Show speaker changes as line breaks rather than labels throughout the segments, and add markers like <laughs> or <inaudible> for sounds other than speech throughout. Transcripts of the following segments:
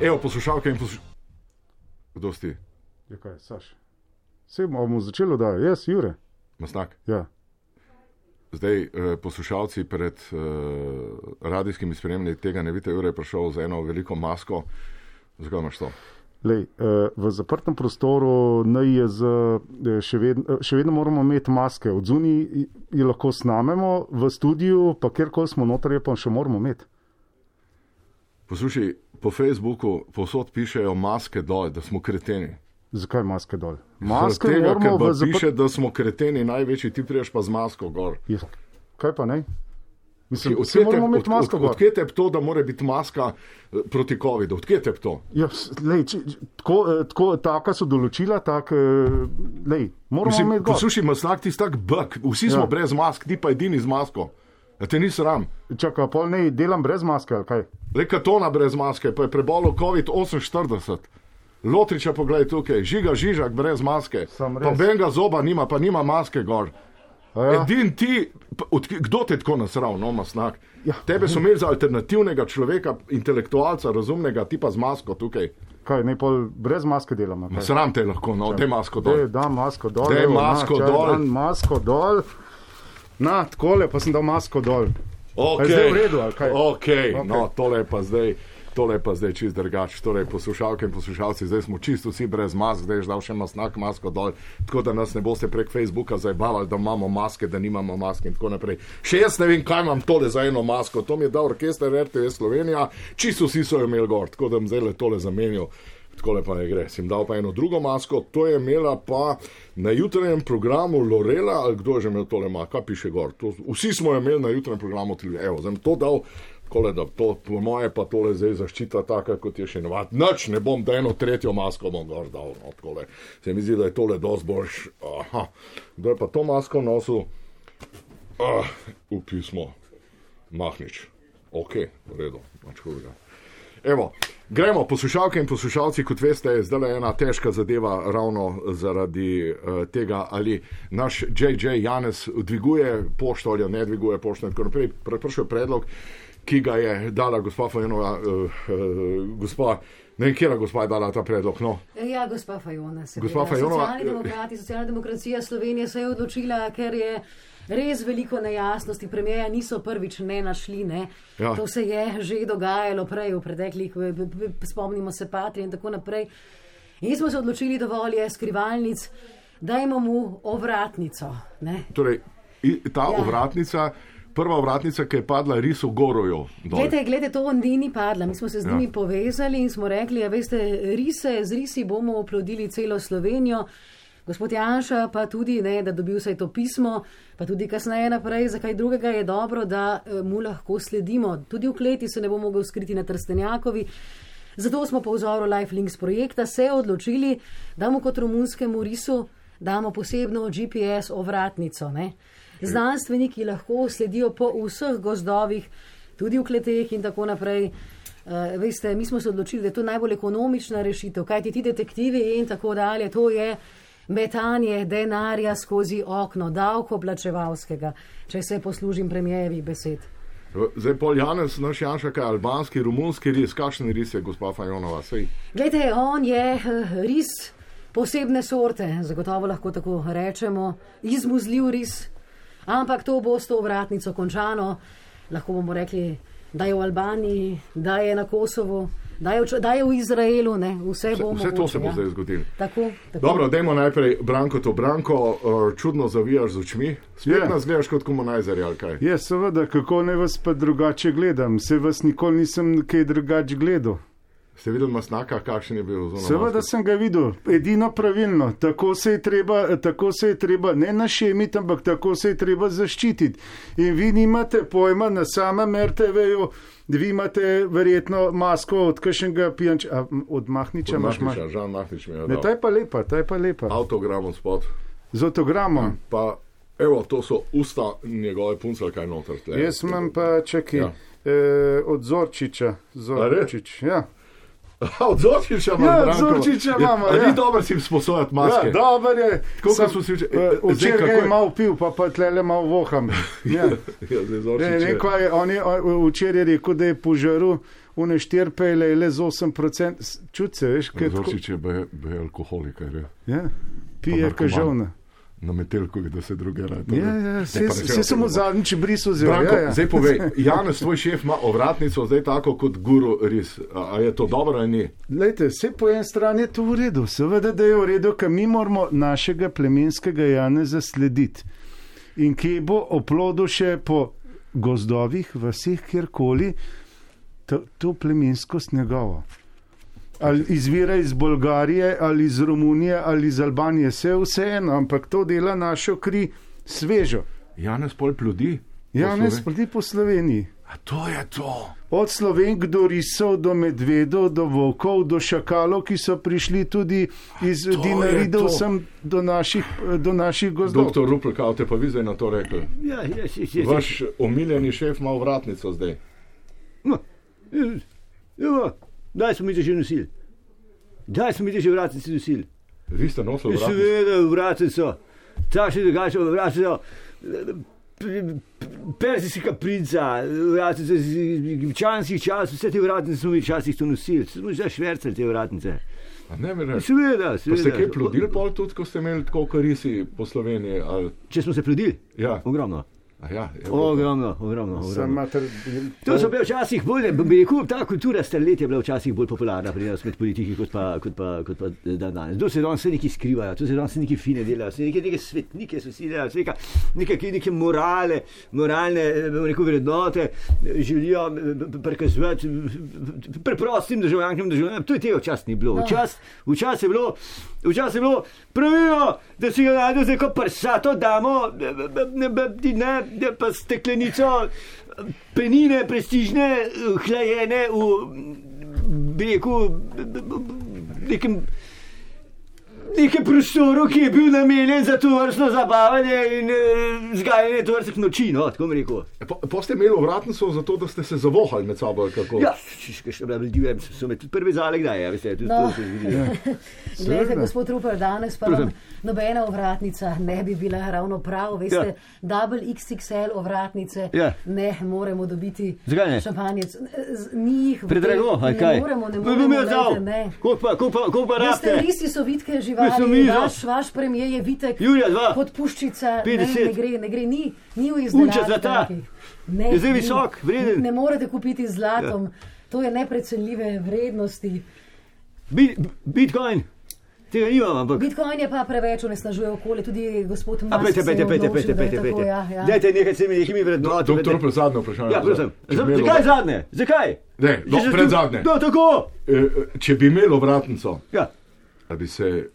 Evo, poslušalke in poslušalke. Kdo si ti?
Ja, kaj, Saš? Vse bomo začeli, da jaz, Jure.
Masnak.
Ja.
Zdaj, eh, poslušalci pred eh, radijskimi spremljanji tega ne vidite, Jure je prišel z eno veliko masko. Zakaj imaš to?
Lej, eh, v zaprtem prostoru NIJZ eh, še, ved, eh, še vedno moramo imeti maske, od zunaj jih lahko snamemo, v studiu, pa kjerkoli smo notri, pa še moramo imeti.
Poslušaj, po Facebooku posod pišejo maske dol, da smo kreteni.
Zakaj maske dol?
Zaradi
Maske
tega, ker
moramo v
pa
zaprtem
piše, da smo kreteni največji, ti priješ pa z masko gor.
prostoru. Kaj pa ne? Mislim,
Od
vsi
kje te-
moramo
od-
imeti masko
od-
gor.
Odkje te to, da mora biti maska eh, proti COVID-u? Odkje te to?
Ja, s- lej, če, če- tako, eh, tako, taka so določila, tak, eh, lej, moramo
Mislim,
imeti gor.
Poslušaj, masnak ti tak bk, vsi smo
Ja.
brez mask, ti pa edini z masko. A te ni sram.
Čakaj, pol ne delam brez maske ali kaj?
Le katona brez maske, pa je prebolo COVID-48. Lotriča pogled tukaj, žiga žižak brez maske.
Sam
Pa
res.
benga zoba nima, pa nima maske gor.
A
Ja.
Ja.
Edin ti, pa od kje- kdo te tako nasral, no, masnak. Ja.
Ja.
Tebe so imeli za alternativnega človeka, intelektualca, razumnega, ti pa z masko tukaj.
Kaj, ne pol brez maske delamo.
Ma sram te lahko,
Ja.
no, te masko dol.
Dej, da, masko dol.
Dej
evo,
masko
na, čakaj,
dol.
dam masko dol. Na, takole pa sem dal masko dol.
Okay.
A je zdaj v redu, ali kaj?
Okay. Okay.
Okej.
No, tole je pa zdaj. Tole je pa zdaj čist drugače. Torej, poslušalke in poslušalci, zdaj smo čisto vsi brez mask, zdaj je dal še masnak, masko dol, tako da nas ne boste prek Facebooka zabavali, da imamo maske, da nimamo maske in tako naprej. Še jaz ne vem, kaj imam tole za eno masko, to mi je dal orkester RTV Slovenija, čisto vsi so jo imeli gor, tako da bom zdaj le tole zamenjal. Tako lepa ne gre. Sem dal pa eno drugo masko, to je imela pa na jutranjem programu Lorela, ali kdo je že imel tole masko, kaj piše gor. To, vsi smo jo imeli na jutranjem programu televizije. Evo, sem to dal, kole, da to, po moje pa tole zdaj zaščita taka, kot je še navad. Noč ne bom, da eno tretjo masko bom gor dal. No, takole. se mi zdi, da je tole dosti boljš. Aha, kdo je pa to masko nosil? Ah, v pismo, mahnič. Ok, v redu, nič hudega. Evo, gremo, poslušalke in poslušalci, kot veste, je zdaj ena težka zadeva ravno zaradi uh, tega, ali naš J.J. Janes dviguje pošto ali jo ne dviguje pošto. in tako naprej. Pr- Prišel je predlog, ki ga je dala gospa Fajenova, uh, uh, gospa, ne vem, kje gospa je dala ta predlog. No,
Ja, gospa Fajona. seveda.
Gospa Fajonova- e,
Socialni demokrati, socialna demokracija Slovenije se je odločila, ker je res veliko nejasnosti. Premijeja niso prvič ne našli. Ne.
Ja.
To se je že dogajalo prej v preteklih, v- v- v- spomnimo se Patri in tako naprej. In smo se odločili, dovolj je skrivalnic, dajmo mu ovratnico. Ne.
torej, i- ta ja.
Ja.
ovratnica, prva ovratnica, ki je padla risu Gorojo. dol.
Glede, glede, to ni, ni padla. Mi smo se z
Ja.
njimi ja. povezali in smo rekli, da veste, rise, z risi bomo oplodili celo Slovenijo. Gospod Janša pa tudi, ne, da dobi vsaj to pismo, pa tudi kasneje naprej, zakaj drugega je dobro, da eh, mu lahko sledimo. Tudi v kleti se ne bo mogel skriti na Trstenjakovi. Zato smo po vzoru Lifelinks projekta se odločili, da mu kot romunskemu risu damo posebno GPS ovratnico. Ne. Znanstveniki lahko sledijo po vseh gozdovih, tudi v kleteh in tako naprej. Uh, veste, mi smo se odločili, da je to najbolj ekonomična rešitev, kajti ti detektivi in tako dalje, to je metanje denarja skozi okno davkoplačevalskega, če se poslužim premijevi besed.
Zdaj pol Janes, naš Janša, kaj je albanski, romunski ris, kakšen ris je gospa Fajonova. Sej.
Glede, on je eh, ris posebne sorte, zagotovo lahko tako rečemo, izmuzljiv ris, ampak to bo s to vratnico končano. Lahko bomo rekli, da je v Albaniji, da je na Kosovu, da je v, Č- da je v Izraelu, ne? vse bo
Vse to se bo
mogoče,
zdaj
ja.
zgodilo.
Tako, tako.
Dobro, dajmo najprej Branko to Branko, eh, čudno zavijaš z očmi. Spet
Je.
nas gledaš kot komunajzer ali kaj.
Ja, seveda, kako ne vas pa drugače gledam, se vas nikoli nisem kaj drugače gledal.
Ste videli masnaka, kakšen je bil zunaj?
Seveda sem ga videl, edino pravilno, tako se je treba, tako se je treba ne našemiti, ampak tako se je treba zaščititi. In vi nimate pojma na samem RTV-ju, vi imate verjetno masko od kakšnega pijanča, a, m, od Mahniča imaš masko.
Mahniča, Žan Mahnič mi je
Ne, ta
dal
je pa lepa, ta je pa lepa.
avtogramom spod.
Z autogramom.
Pa evo, to so usta njegove punce, ali kaj noter. Tle.
Jaz imam pa čekaj
Ja.
ja. eh, od Zorčiča.
A res?
Zorčič, ja.
<laughs> Od Zorčiča imamo.
Ja, od
Branko.
Zorčiča
Je-
imamo,
a
ja.
Ni dobro si jim sposojati maske.
Ja,
<laughs>
dober je.
Tako,
Sem,
kot smo si včeraj-
eh,
Zdaj,
Včeraj
kako
ga
je?
je malo pil, pa pa tlele malo voham. Ja.
<laughs> ja, zdaj Zorčič
Ne,
je-
ne, kva je, on je on, včeraj je rekel, da je požaru une štirpele le z 8%. S- Čut se, veš, kaj tako.
Ja, Zorčič je bil bil alkoholik, kar je
Ja, pije
narkoman.
kažovna.
na metelku, da se druge rade.
Ja, ja, vse, vse sem mu zadnjič brisal zelo.
Branko,
Ja, ja.
zdaj
<laughs>
povej, Janus, tvoj šef ima ovratnico zdaj tako kot guru res. A a je to dobro ali ni?
Lejte, vse po eni strani je to v redu, seveda, da je v redu, ker mi moramo našega plemenskega Jana zaslediti. In ki bo oplodil še po gozdovih, vseh, kjerkoli, to, to plemenskost njegovo. Ali izvira iz Bolgarije, ali iz Romunije, ali iz Albanije, vse vseeno, ampak to dela našo kri svežo.
Janus pol plodi. po
Ja, ne
Sloveniji.
sprdi po Sloveniji.
A to je to.
Od Slovenk do risov, do medvedov, do volkov, do šakalov, ki so prišli tudi iz
to je
Dinaridov,
to.
sem do naših, do naših gozdov.
Doktor Rupel, kaj te pa vi zdaj na to
<laughs>
rekli?
Ja, ja, si, si, si.
Vaš omiljeni šef ima ovratnico zdaj.
Ma, eh, Evo, kdaj smo mi to že nosili? Kdaj smo mi to že vratnici nosili?
Vi ste nosili ovratnico.
Seveda, vratnico, takšne drugače, vratnico. Persijska princa, vratnice iz egipčanskih časov, vse te vratnice smo mi včasih tu nosili, saj smo že švercali te vratnice.
A Ne, mi reči.
Seveda,
Pa
seveda.
ste kje plodili pol tudi, ko ste imeli tako korisi po Sloveniji? Ali...
Če smo se plodili?
Ja,
Ogromno.
A ja, evo.
Ogromno, ogromno.
Sem
ogromno.
mater-
To so bile včasih bolj, ne, bi rekel, ta kultura starletja je bila včasih bolj popularna pri nas med politiki kot pa, kot pa, kot pa eh, dan danes. Tu se danes vse neki skrivajo, tu se danes vse neki fine delajo, vse neke, neke svetnike so si delali, vse neka, neke, neke morale, moralne eh, bom rekel, vrednote eh, želijo eh, prikazovati eh, preprostim državljankam in državljanom. To je tega včasih ni bilo. Včasih včas je bilo, včas je bilo pravilo, da si ga najdemo z neko prsato damo, eh, ne, ne, ne, ne pa steklenico penine, prestižne, eh, hlajene v, bi rekel, b- b- b- nekem. Nekaj prostorov, ki je bil namenjen za to vrstno zabavanje in eh, zgajanje to vrstnih noči, no, tako bi rekel.
E, Po, po ste imeli ovratnico zato, da ste se zavohali med sabo. ali Kako?
Ja, še še bila divja, so me tudi prvi zale, kdaj, ja, veste, tudi
No.
no. to se je
<laughs>
zgodilo.
Glede,
Seveda.
gospod Rupert, danes pa vam nobena ovratnica ne bi bila ravno prav. Veste, ja.
Ja.
double XXL ovratnice
Ja.
ne moremo dobiti.
Zakaj ne?
Šampanjec. Z- Ni jih v
Predrago,
tem-
ali kaj?
Ne moremo, ne
Kdo bi
moremo.
mi odzal?
glejte, ne.
Koliko pa, koliko pa, koliko pa
Veste,
raste?
risi so vitke
Mislim, mi,
živali,
no.
vaš, vaš premijer je vitek,
Julija, dva.
kot puščica, ne,
50.
ne gre, ne gre, ni, ni v izdelavi.
Unča zlata.
takih. Ne,
Je zdaj
ni.
visok, vreden.
Ne morete kupiti z zlatom, ja. to je neprecenljive vrednosti.
Bit, Bitcoin, tega nimam, ampak.
Bitcoin je pa preveč onesnažuje okolje, tudi gospod
A
Musk.
pejte,
se je
pejte, pejte,
odločil,
pejte,
da je
pejte,
tako,
pejte.
Ja, ja.
Dajte nekaj s temi nekimi vrednotami.
No, Doktor, pred zadnjo vprašanje.
Ja, prosim.
Če bi
Za-
imel
Zakaj
ovrat-
zadnje? Zakaj?
Ne, no,
Če se
pred
tu-
zadnje.
No, tako.
Eh, Če bi imel ovratnico,
Ja.
da bi se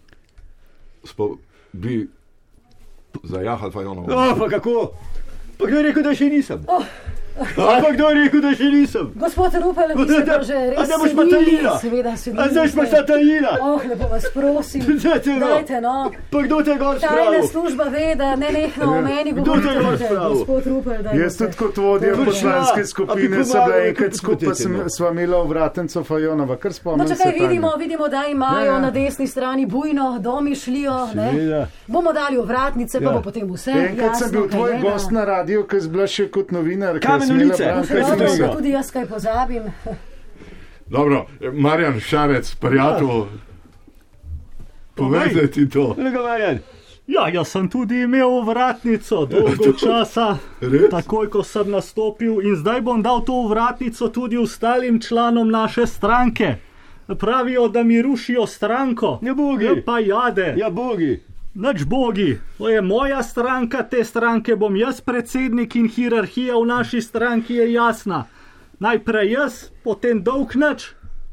spo, bi zajahal fajonovo.
No, pa kako? Pa kdo je rekel, da še nisem?
Oh.
A pa kdo je rekel, da še nisem?
Gospod Rupel, vi ste pa že
A
res
zdaj boš pa
sedili,
tajila?
seveda sedili.
A zdaj boš pa
ste.
tajila?
Oh, lepo vas
<laughs>
prosim.
Dajte, no.
Dajte, no.
Pa kdo te je
Tajna
gor spravil?
služba ve, da ne nehno o meni
Kdo te je
govorite.
razpravil?
Gospod Rupel, da
Ja. Jaz tudi kot vodja
To je
poslanske
prišla, a bi
skupine sem
pomagal,
bila
da
enkrat
tudi
skupaj,
potete,
sem,
no.
sva imela vratenco Fajonova, kar
No,
spomnim
če
se.
kaj
Tanja.
vidimo, vidimo, da imajo
Ja, ja.
na desni strani bujno domišljijo. no, ne.
Seveda.
Bomo dali ovratnice, pa
Ja.
bo potem vse.
Enkrat
jasno, no.
sem bil tvoj
kajnena.
gost na radiju, ki si bila še kot novinar. ker
Kamen
si imela
ulice.
Branka
Kaj si
Dobro,
Zmaga.
mislil?
Tudi jaz kaj pozabim.
Dobro, Marjan Šarec, prijatelj, povejte ti to.
Kolega Marjan.
Ja, jaz sem tudi imel vratnico
<laughs>
dolgo časa,
Res?
takoj ko sem nastopil, in zdaj bom dal to vratnico tudi ostalim članom naše stranke. Pravijo, da mi rušijo stranko.
Ja, bogi.
Ja, pa jade.
Ja, bogi.
Nač bogi, to je moja stranka, te stranke bom jaz predsednik in hierarhija v naši stranki je jasna. Najprej jaz, potem dolg nač,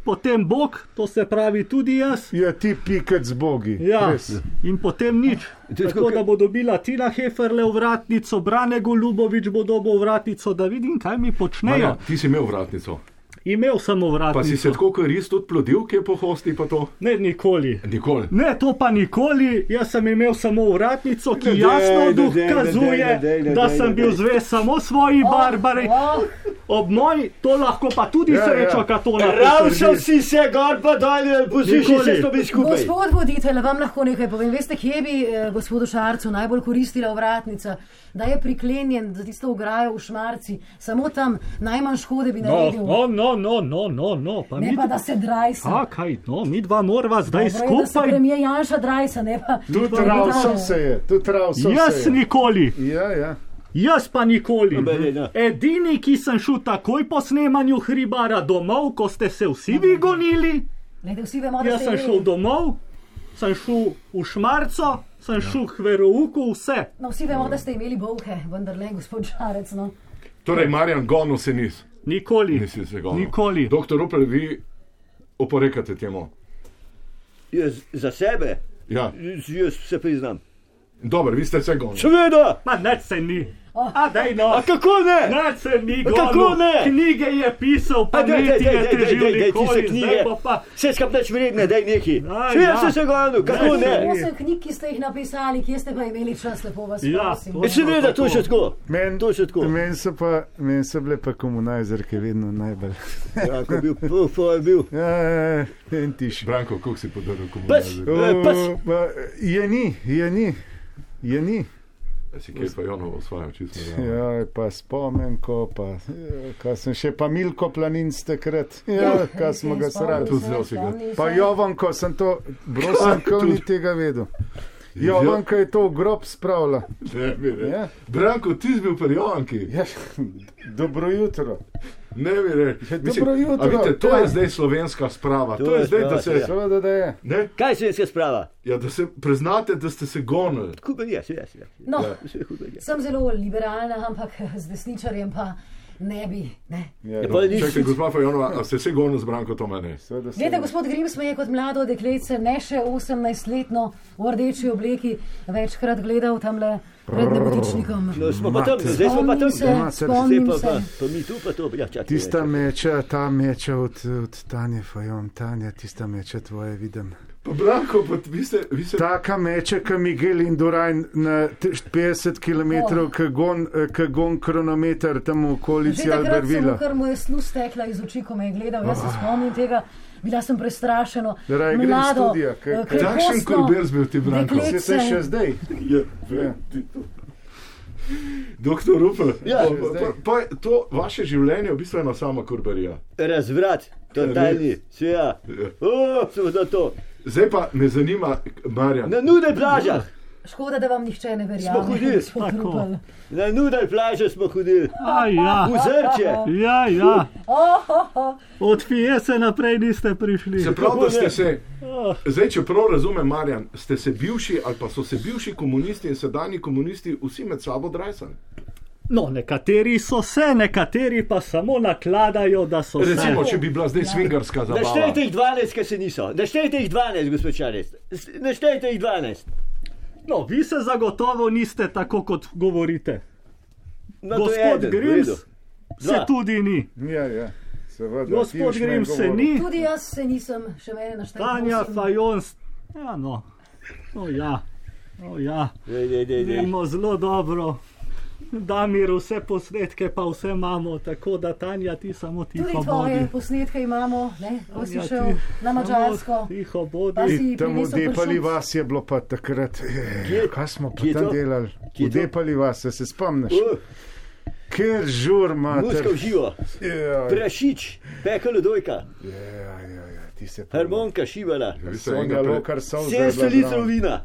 potem bog, to se pravi tudi jaz.
Ja, ti pikec bogi.
Ja,
Res.
in potem nič.
To je
Tako
tako,
da
ke-
bo dobila Tina Heferle vratnico, Brane Golubovič bo dobil vratnico, da vidim, kaj mi počnejo.
Marjan, no, ti si imel vratnico.
Imel sem
Pa si
vratnico.
se tako kot res tudi plodil, ki je po hosti, pa to
Ne, nikoli.
nikoli.
Ne, to pa nikoli, jaz sem imel samo vratnico, ki
dej,
jasno
ne dej, ne dej, ne
dokazuje,
dej, ne
da
dej,
sem
ne
bil
dej.
zvest samo svoji Barbari.
Oh,
Ob moji to lahko pa tudi
Ja,
sreča
ja.
katona.
Ravno
potrdi.
si se gor pa dol, poslušaj
Nikoli.
se s tobi skupaj.
Gospod voditelj, vam lahko nekaj povem. Veste, kje bi eh, gospodu Šarcu najbolj koristila vratnica, da je priklenjen za tisto ograjo v Šmarci, samo tam najmanj škode bi
No,
naredil.
no, no, no, no, no, no. Pa
Ne
mi
pa, da se drajsa.
A, kaj, no, mi dva morava zdaj
Dobro je, da se
skupaj.
Premijer Janša drajsa, ne pa.
Tudi Ravsom se je, tudi Ravsom
Jaz
se je.
nikoli,
Ja, ja.
jaz pa nikoli.
Dobre, ja.
Edini, ki sem šel takoj po snemanju hribara domov, ko ste se vsi vi gonili,
Glede, vsi vemo, da
jaz
ste
sem
vi-
šel domov, sem šel v Šmarco,
Ja.
sem šel k verouku, vse.
No, vsi vemo, da ste imeli bolhe, vendar le gospod Šarec. No.
Torej, Marjan, gonu se nis.
Nikoli.
Nisi se gonil.
Nikoli.
Doktor Rupel, vi oporekate temu.
Jaz za sebe,
Ja,
jaz- jaz se priznam.
dobro, vi ste se gonili.
Seveda,
Ma ne se ni.
Oh.
A daj no.
a kako ne?
Ne se ni gonil.
kako ne?
Knjige je pisal, pa
A daj,
niti
daj,
ne
daj, daj, daj,
težil
daj, tiste
nikoli. Zdaj
knjige.
bo pa
Vse skap neč vredne, daj neki.
Aj,
Seveda
ja.
sem se gonil, kako
Daj,
ne?
Osem knjig, ki ste jih napisali, kje ste pa imeli čas, lepo vas
Ja,
prosim.
to-
Seveda, to še tako.
Meni
To še tako.
men so, pa- men so bile pa komunajzerke vedno najbolj.
Ja, ko je bil, ko- ko je bil.
Ja, ja, ja, en tiš. E,
Branko, kako si podaril
Pes,
komunizem?
eh, pes.
Je ni, je ni. Je ni.
Si kaj pa Jonovo osvajal, čisto. Ja.
Ja, pa spomenko, pa eh, kaj sem še, pa Milko Planinc takrat, ja, kaj smo ga srali.
Tudi zelo si ga.
Pa Jovanko, sem to, Brosanko ni tega vedel. Jovanka je to v grob spravila.
Ne, mi re.
Ja.
Branko, ti si bil pri Jovanki.
Ja, <laughs> dobro jutro. Ja,
Ne, mi re.
dobro jutro.
a vidite, to
Ja.
je zdaj slovenska sprava. To, to je
je
zdaj, da
sprava,
se,
ja.
Seveda, da je.
ne,
Kaj je slovenska sprava? ja,
ja, da se priznate, da ste se gonili. Ja.
Kuber je, seveda, seveda.
No,
Seveda, Kuber je. ja.
sem zelo liberalna, ampak z desničarjem pa ne bi. Ne.
Ja,
Ja, pa ni-
Čakajte, gospod Fajonova, a ste se gonili z Branko Tomane?
seveda, seveda.
Glede, gospod Grims me je kot mlado dekletce, ne še 18-letno v rdeči obleki, večkrat gledal tamle pred nebotičnikom.
No, smo pa tam, zdaj smo pa tam.
Spomnim se,
Ma, se-
Zdaj
spomnim
pa,
se.
pa, pa mi tu, pa to, ja, čakaj.
Tista meča, ta meča od, od Tanje Fajon, Tanja, tista meča tvoje vidim.
Pa Branko, pa vi ste, vi ste
Taka meča, kot Miguel in Durajn na te- 50 km, kot gon, eh, ke gon kronometer tam v
Oh. Že
okolici
takrat sem, mu,
Albertvila.
kar mu je snu stekla iz oči, ko me je gledal, jaz se spomnim tega. Bila sem prestrašena,
Raje grem
mlado,
v studio, kaj-
eh,
kaj-
takšen
krepostno.
korbir bil ti, Branko.
dekletce.
Se se še zdaj.
Je, ve, ti to. Doktor Rupel,
Ja,
pa- pa- pa to vaše življenje je v bistvu ena sama kurbarija.
Razvrat, totalni, seveda. O, samo za to.
Zdaj pa me zanima, Marjan.
Na nudaj plažah,
Škoda, da vam nihče ne verjame.
Smo hodili,
gospod
tako.
Rupel.
na nudaj plažah smo hodili.
A ja.
V zrče.
Ja, ja.
Oh, oh, oh.
Od Fijese naprej niste prišli.
Se pravi, da ste
ne?
se,
Ah.
zdaj, če prav razumem, Marjan, ste se bivši ali pa so se bivši komunisti in sedajni komunisti vsi med sabo drajsali.
No, nekateri so se, nekateri pa samo nakladajo, da so se.
Recimo, če bi bila zdaj svingarska zabava.
Naštejte jih 12, ki se niso. Naštejte jih 12, gospod Čarec. Naštejte jih 12.
No, vi se zagotovo niste tako, kot govorite.
No, to je
Gospod
eden, v
Grims
redu.
se
Dva.
tudi ni.
Ja, ja, seveda. ti
Gospod
boš meni
Grims se
govoril.
ni,
Tudi jaz se nisem še mene naštel.
Tanja Fajon. s- Ja, no. O ja, o ja.
Dej, dej, dej, dej.
Vemo zelo dobro. Damir, vse posnetke pa vse imamo, tako da Tanja ti samo ti
Tudi
pobodi.
tvoje posnetke imamo, ne? ko si
Ja,
šel
ti.
na Mačarsko.
Tiho
Pa
bodi.
si-
In Tam v
prinesel
Depali
pršut.
vas je bilo pa takrat. eh,
Kje?
Kaj smo pa
Kje
tam
to?
delali?
Kje
V
to?
Depali vas, a se spomniš?
O,
Ker žur, mater.
Muska v živo,
Ja,
prašič, pekel dojka,
ja, ja, ja, ti se Ja, pa-
harmonika šivala,
Vi ste
Sonja
enega pre-
Lokar, solze je
700
bila
litrov
zraven.
vina,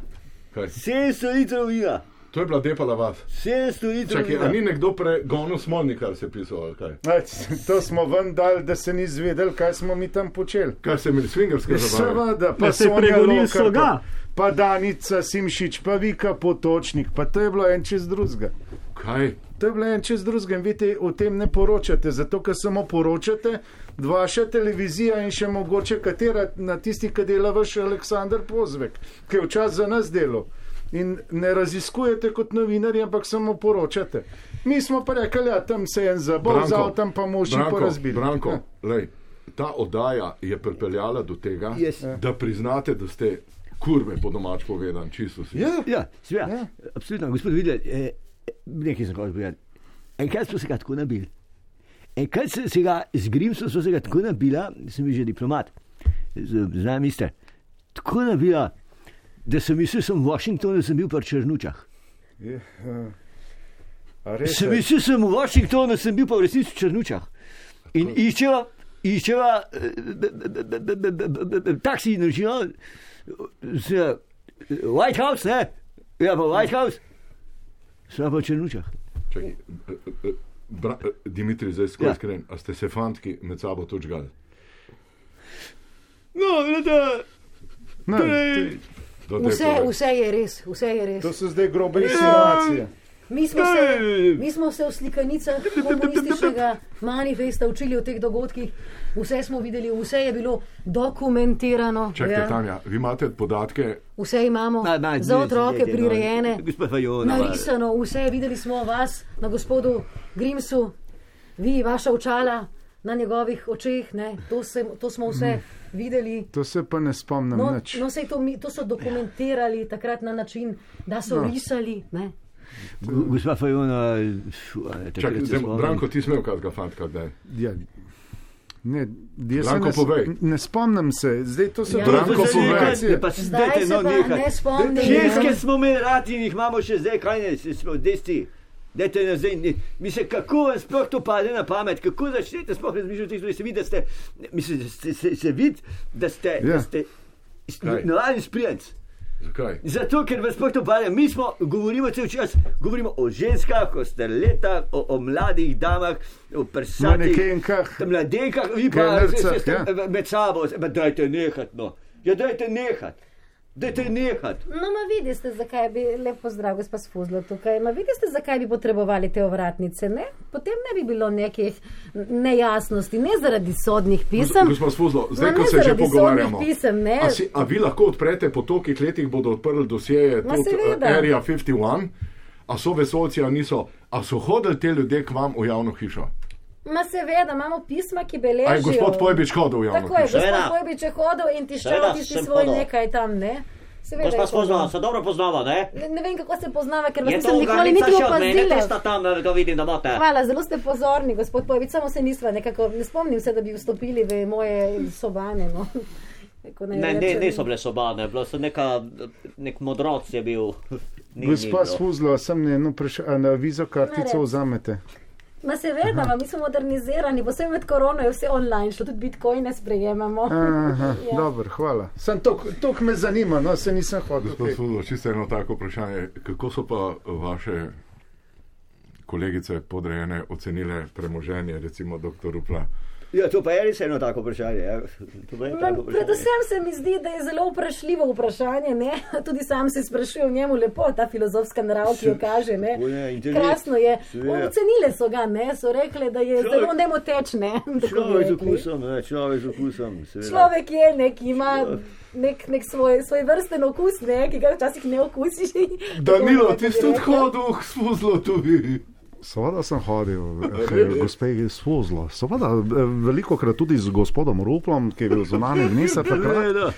Kaj?
700 litrov vina,
To je bila depala vas.
700 litrov
Čakaj, a ni
vina.
nekdo pregonil smolnikar se pisal, ali kaj?
Aj, To smo ven dali, da se ni izvedeli, kaj smo mi tam počeli.
Kaj se mi svingarska zabava?
Seveda,
Ne,
pa
saj
Sonja
pregonili
Lokar,
so ga.
pa- Pa Danica Simšič, pa Vika Potočnik, pa to je bilo en čez drugega.
Kaj?
To je bilo en čez drugega in vi te, o tem ne poročate, zato ker samo poročate, vaša televizija in še mogoče katera na tisti, ki dela vaš Aleksandr Pozvek, ki je včasih za nas delal. In ne raziskujete kot novinarji, ampak samo poročate. Mi smo pa rekli, da ja, tam se je en zabol, z avtom pa moši porazbili.
Branko,
Ja.
lej, ta oddaja je pripeljala do tega,
Yes.
yes. da priznate, da ste kurve, po domač povedan, čisto si.
Ja.
Ja, seveda.
Ja.
Absolutno, gospod Videl, eh, nekaj sem hotel povedati. Enkrat smo se ga tako nabili. Enkrat sem se ga zgril, sem se ga tako nabila, sem bil že diplomat, znam iste. Tako nabila, da sem mislil, sem v Washingtonu, sem bil pri Črnučah.
Je, eh, a res
Sem
je?
mislil, sem v Washingtonu, sem bil pa v resnici v Črnučah. In iščeva, iščeva, eh, taksi nožijo z eh, White House, ne? Ja, pa White House. Sva pa v Črnučah.
Čakaj, eh, eh, bra- eh, Dimitri, zdaj skoro
Ja.
iskren, a ste se fantki med sabo tudi žgali?
No, da,
Ne,
Do te
Vse,
pove.
vse je res, vse je res.
to so zdaj grobe insinuacije.
Mi smo se, mi smo se v slikanicah komunističnega manifesta učili o teh dogodkih, vse smo videli, vse je bilo dokumentirano. ja.
Čakajte, Tanja, vi imate podatke,
Vse imamo
Ma- ma,
za
dve
otroke
sedete, no.
prirejene,
Gospa Fajonova. no.
narisano, vse videli smo vas na gospodu Grimsu, vi, vaša očala na njegovih očeh, ne, to, se, to smo vse videli.
To se pa ne spomnim
No,
nič.
no, sej to, mi- to so dokumentirali takrat na način, da so risali. Ne.
Go- Gospa Fajona, fu, a
Čakaj,
je takrat se
zdaj,
spomnim.
Branko, ti smel kakega fantka, da
Ja. Ne, jaz se
Branko,
ne, s-
povej.
ne spomnim se, Ja, zdaj to so
Ja.
bile
Branko,
Zdaj,
povej.
insinuacije.
ne, pa se
Zdaj
dajte,
se
no,
pa
nehaj.
ne spomnim.
Ženske smo imeli radi in jih imamo še zdaj, kaj ne, se smo desni. Dajte nas zdaj, ne- mislim, kako vam sploh to pade na pamet, kako začnete sploh razmišljati, o teh stvareh? se vidi, da ste, mislim, da ste, se, se vidi, da ste, yeah.
Ja.
da ste s-
Kaj?
navadni sprijenci.
Zakaj?
Zato, ker vas sploh to pade, mi smo, govorimo cel čas, govorimo o ženskah, o starletah, o, o mladih damah, o prsatih,
Manekenkah.
mladenkah, vi pa
Kelnercah,
se- se ste
ja.
med sabo, se- ma dajte nehat, no. Ja, dajte nehat, dajte nehat.
No, ma vidite, zakaj bi lepo zdrav, gospa Spuzlo tukaj. Ma vidite, zakaj bi potrebovali te ovratnice, ne? Potem ne bi bilo nekih nejasnosti, ne zaradi sodnih pisem.
Gospod Spuzlo, zdaj,
Ma
ko
No, ne
se že
zaradi
pogovarjamo,
sodnih pisem, ne.
a, si, a vi lahko odprete po tolikih letih, bodo odprli dosjeje
Ma
tudi eh,
seveda.
Area 51, a so vesolci, a niso, a so hodili te ljudje k vam v javno hišo?
Ma seveda, imamo pisma, ki
A je
beležijo.
gospod Pojbič hodil v javno
Tako je,
hišo?
gospod
Seveda.
Pojbič je hodil in tiščal
Seveda,
tisti
sem
svoj
hodil.
nekaj tam, ne? Seveda. je
Gospa
hodil.
spoznava, se dobro poznava, ne?
Ne, ne vem, kako se poznava, ker vas
Je
nisem
to
nikoli
ugarnica
niti
še od mene,
opazila.
tista tam, da vidim, da imate.
Hvala, zelo ste pozorni, gospod Pojvič, samo se nisva nekako, ne spomnim se, da bi vstopili v moje sobane. No. Kako naj
Ne, ne,
rečem.
niso bile sobane, bilo so neka, nek modroc je bil. <laughs> Ni- ni bilo.
Gospa Svuzlo, sem ne eno vprašanje, a na vizo
Ne,
kartico
ne.
vzamete.
Ma seveda, ma, mi smo modernizirani, posebej med korono je vse online, šlo tudi bitcoine sprejemamo.
Oh. <laughs> Ja.
Aha, dobro, hvala. Sem to, to me zanima, no se nisem hodil.
Gospod Spuzlo, čisto eno tako vprašanje, kako so pa vaše kolegice podrejene ocenile premoženje, recimo dr. Rupla?
Ja, to pa je res eno tako vprašanje. Ja. To pa je
Ma,
tako vprašanje.
Predvsem se mi zdi, da je zelo vprašljivo vprašanje. Ne? Tudi sam se sprašujem njemu lepo, ta filozofska narav, ki jo kaže. Ne?
O, ja, internet.
Krasno je.
Seveda.
Ocenile so ga, ne? so rekle, da je
Človek-
zelo nemotečne.
Človek z okusom, ja, človek z okusom. seveda.
Človek je nek, ki ima nek, nek svoj, svoj vrsten okus, ne? ki ga včasih ne okusiš.
Danilo, ti si tudi hodil, Spuzlo tudi.
Seveda sem hodil, eh, gospe Svozlo, seveda eh, veliko krat tudi z gospodom Ruplom, ki je bil zunanji minister takrat.
<laughs> Seveda.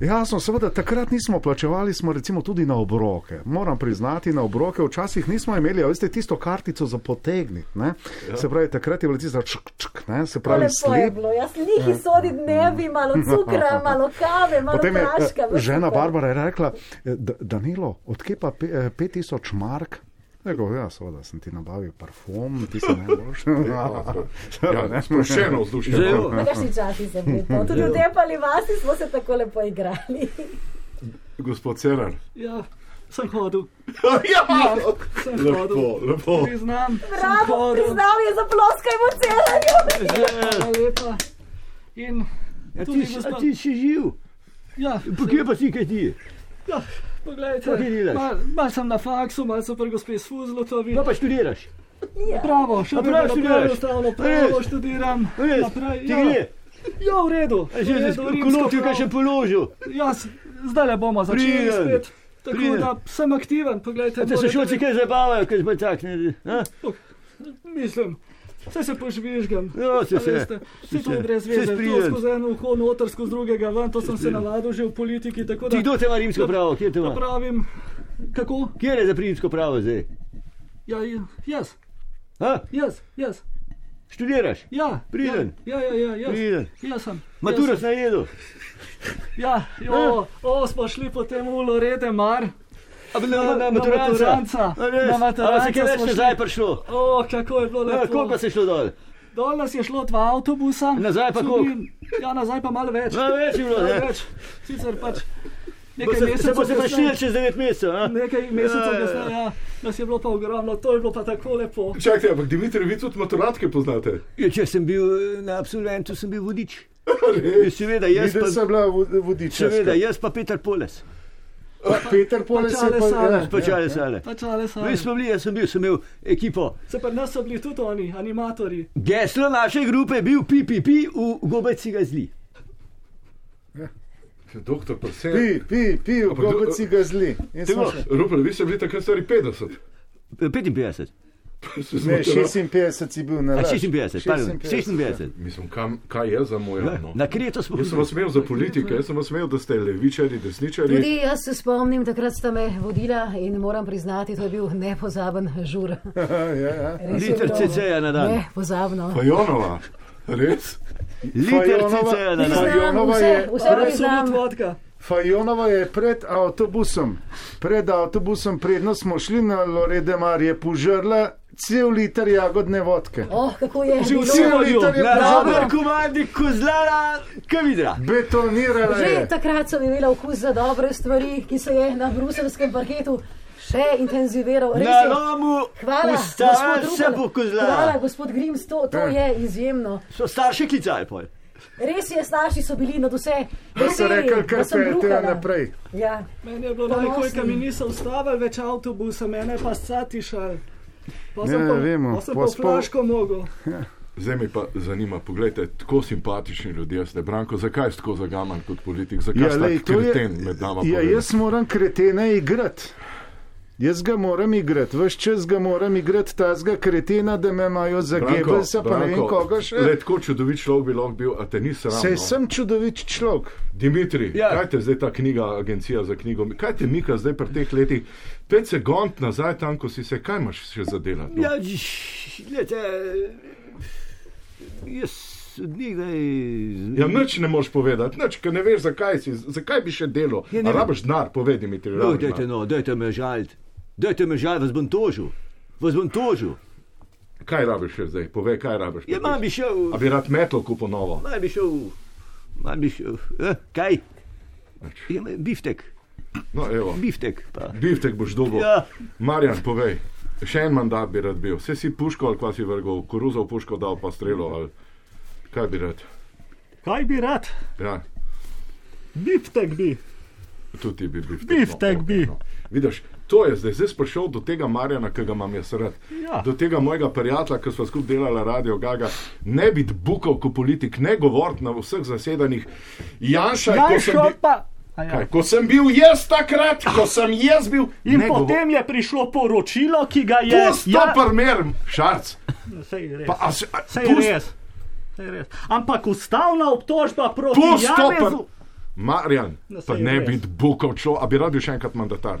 Jasno, Ja, seveda takrat nismo plačevali, smo recimo tudi na obroke. Moram priznati, na obroke včasih nismo imeli, a veste, tisto kartico za potegniti. ne.
Ja.
Se pravi, takrat je bilo tisto čk, čk, ne, se pravi,
Lepo je
slep.
bilo, jaz njih izsodim dnevi, malo cukra, malo kave, malo
Potem je eh,
praška. veš,
žena
super.
Barbara je rekla, eh, "Da- Danilo, odkje pa 5000 mark? Rekel, ja, seveda sem ti nabavil parfum, ti si
<laughs>
najboljši.
Ja, sproščeno vzdušje.
Zelo.
no.
Takšni časi so bili. to. Tudi v Depali vasi smo se tako lepo igrali.
Gospod Cerar.
Ja, sem hodil,
Ja,
sem hodil.
lepo, lepo.
Priznam, sem
Bravo,
hodil.
priznal je za ploskajmo celanju.
Hvala lepa. In
Ja,
tudi
ti, si- a
gospod-
ti si živ,
ja,
pa kje pa si, kaj ti je?
ja, poglejte,
Kaj delaš?
mal, mal sem na faksu, mal sem pri gospe Sfuzlotovi.
No pa študiraš.
Ja.
Pravo, še
A
vedno
prav
pravo
študiraš?
stavno,
Res?
pravo študiram.
Res,
naprej,
ti
ja.
gre.
Ja, v redu. v
Že
redu,
si
rimsko
kolotika
pravo.
še položil.
Ja, s- zdaj le bomo začeli
Pridem.
spet. Tako
Pridem.
da sem aktiven, poglejte.
A te se
morate
šolci
videti.
kaj zabavajo, kaj smo takšni. a?
Mislim, vse se požvižgam.
Ja, se
A
se.
veste, Vse to
se.
brez
Se
veze, to
spridem.
skozi eno uho, noter, skozi drugega ven, to sem se navadil že v politiki. tako da-
Ti kdo te ima
Ja,
rimsko pravo, kje
Da
te ima?
pravim, kako?
Kje je za rimsko pravo zdaj?
Ja, jaz,
A?
jaz, jaz.
Študiraš?
Ja,
Priden.
Ja, ja, ja, ja.
Priden.
Jaz sem.
Maturo
jaz sem.
sem jedel.
Ja, jo, o, smo šli potem v Lorete Mar.
Na,
maturanca.
na maturanca.
A res?
A se kaj več
smo šli.
nazaj prišlo?
O, kako je bilo
Ja,
lepo.
Koliko se je šlo dol?
Dol nas je šlo dva avtobusa.
Nazaj pa
Tudi-
koliko?
Ja, nazaj pa malo več.
Na več je bilo,
Malo
ne?
več. Sicer pač
Bo
nekaj
Se, se
mesecev.
bo se pa
kasneje-
šel čez 9 mesecev. a?
Nekaj
Ja,
mesecev
ja.
kasneje, ja, nas je bilo pa ogromno, to je bilo pa tako lepo.
Čakajte, ampak Dimitri, vi tudi maturatke poznate.
Ja, če sem bil eh, na absolventu, sem bil vodič. Ja, Seveda, jaz
Videla
pa,
sem bila vodiča.
seveda, jaz pa Peter Poles.
Peter Poles je pa.
Pačale
ja.
same.
Počali se le.
Pač ali so.
Mi smo bili, jaz sem bil, sem imel ekipo.
Se pa nas so bili tudi oni, animatorji.
Geslo naše grupe je bil PPP v gobeci ga zli.
Doktor, pa vse.
Pi, pi, pi, v
Ampak do-
gobec si ga zli. In smo
Timo.
še-
Rupel, vi ste bili takrat stari 50.
55,
Se
Ne,
zmotila.
56 je bil na ja.
a
laž.
56, pardon,
56.
56.
Mislim, kam, kaj je za mojo eno?
Na kreto smo
Jaz sem vas smel za politiko, jaz sem vas smel, da ste levičari, desničari.
Tudi jaz se spomnim, takrat sta me vodila in moram priznati, to je bil nepozaben žur.
Ja, ja.
Res je
Liter
bilo
CC-ja na dan.
Nepozabno.
Fajonova, res?
Liter
Fajonova-
ciceja na dan.
Priznam
Fajonova
vse,
je-
vse priznam.
Absolutno vodka.
Fajonova je pred avtobusom, pred avtobusom, predno smo šli na Loredemar, je požrla cel liter jagodne vodke.
Oh, kako je bilo.
Cel liter je
Na
požrla,
rabar komandnik kozlara Kavidra.
betonirala
Že
je.
takrat sem imela okus za dobre stvari, ki se je na bruselskem parketu še intenziviral. Res
Na
je.
lomu
Hvala,
ustava
gospod
se Eh.
Rupel.
bo
Hvala,
kozlara.
gospod Grims, to, to je izjemno.
So starši klicali pol.
Res je, starši so bili nad vse
Da so rekli,
veseli, da
kar
sem
peljete
bruhala.
naprej.
Ja.
Meni je bilo
Ponosni.
najhoj, ker mi niso ustavili več avtobusa, mene pa scatišali. Pa
Ne,
sem pa,
Ja, vemo,
pa sem
pol
pa
spol- Ja.
flaško mogel.
Zdaj me pa zanima, pogledajte, tako simpatični ljudje ste, Branko, zakaj ste tako zagaman kot politik, zakaj
Ja,
ste
lej,
tako
to je,
kreten med nama?
ja,
povedati?
jaz moram kretena igrati. Jaz ga moram igrati, vse čas ga moram igrati, tazga kretena, da me imajo za gebelsa, pa ne vem koga še.
Le tako čudovit človek bi lahko bil, a te nisem
Sej
ravno.
sem čudovit človek.
Dimitri,
Ja.
ja. kaj te zdaj ta knjiga, agencija za knjigo, kaj te mika zdaj pri teh letih? Pet sekund nazaj tam, ko si se, kaj imaš še za delati? No?
Ja, gledajte, jaz od nekdaj.
Ja, nič ne moš povedati, nič, ker ne veš, zakaj, si, zakaj bi še delo.
Ja,
Ja,
ne vem.
rabiš denar, povej mi, ti
No, dajte,
rabiš.
no, dajte me žaliti, dajte me žaliti, vas bom tožil, vas bom tožil.
denar. Kaj rabiš še zdaj? Povej, kaj rabiš.
Ja, mam bi šel,
A bi rad metal kupo novo?
mam bi šel, mam bi šel, eh, kaj? Ja, ma- biftek,
No, evo.
biftek. Pa.
Biftek boš dobil.
Ja,
Marjan, povej, še en mandat bi rad bil. Vse si puško ali kva si vrgel, koruzo v puško dal pa strelo ali kaj bi rad.
Kaj bi rad?
Ja,
Biftek bi.
tudi ti bi bil.
Biftek bi.
No, Vidiš, to je zdaj, zdaj si prišel do tega Marjana, ki ga imam jaz rad.
Ja.
Do tega mojega prijatelja, ki smo skupaj delali radio Gaga. Ne biti bukov kot politik, ne govoriti na všeh zasedanjih. Janša, ko sem,
Janšo
bil,
pa. A ja.
kaj, ko sem bil jaz takrat, ko sem jaz bil.
In
ne govor-
potem je prišlo poročilo, ki ga je
Pusti to primer, šarc.
Sej No, res.
Pa, a, se- a,
Sej
pusti-
res. Sej res. Ampak ustavna obtožba proti
Pusti to
Janezu.
primer. Marjan,
No, saj
pa
je
ne
res.
biti bukov človek, a bi rad bil še enkrat mandatar.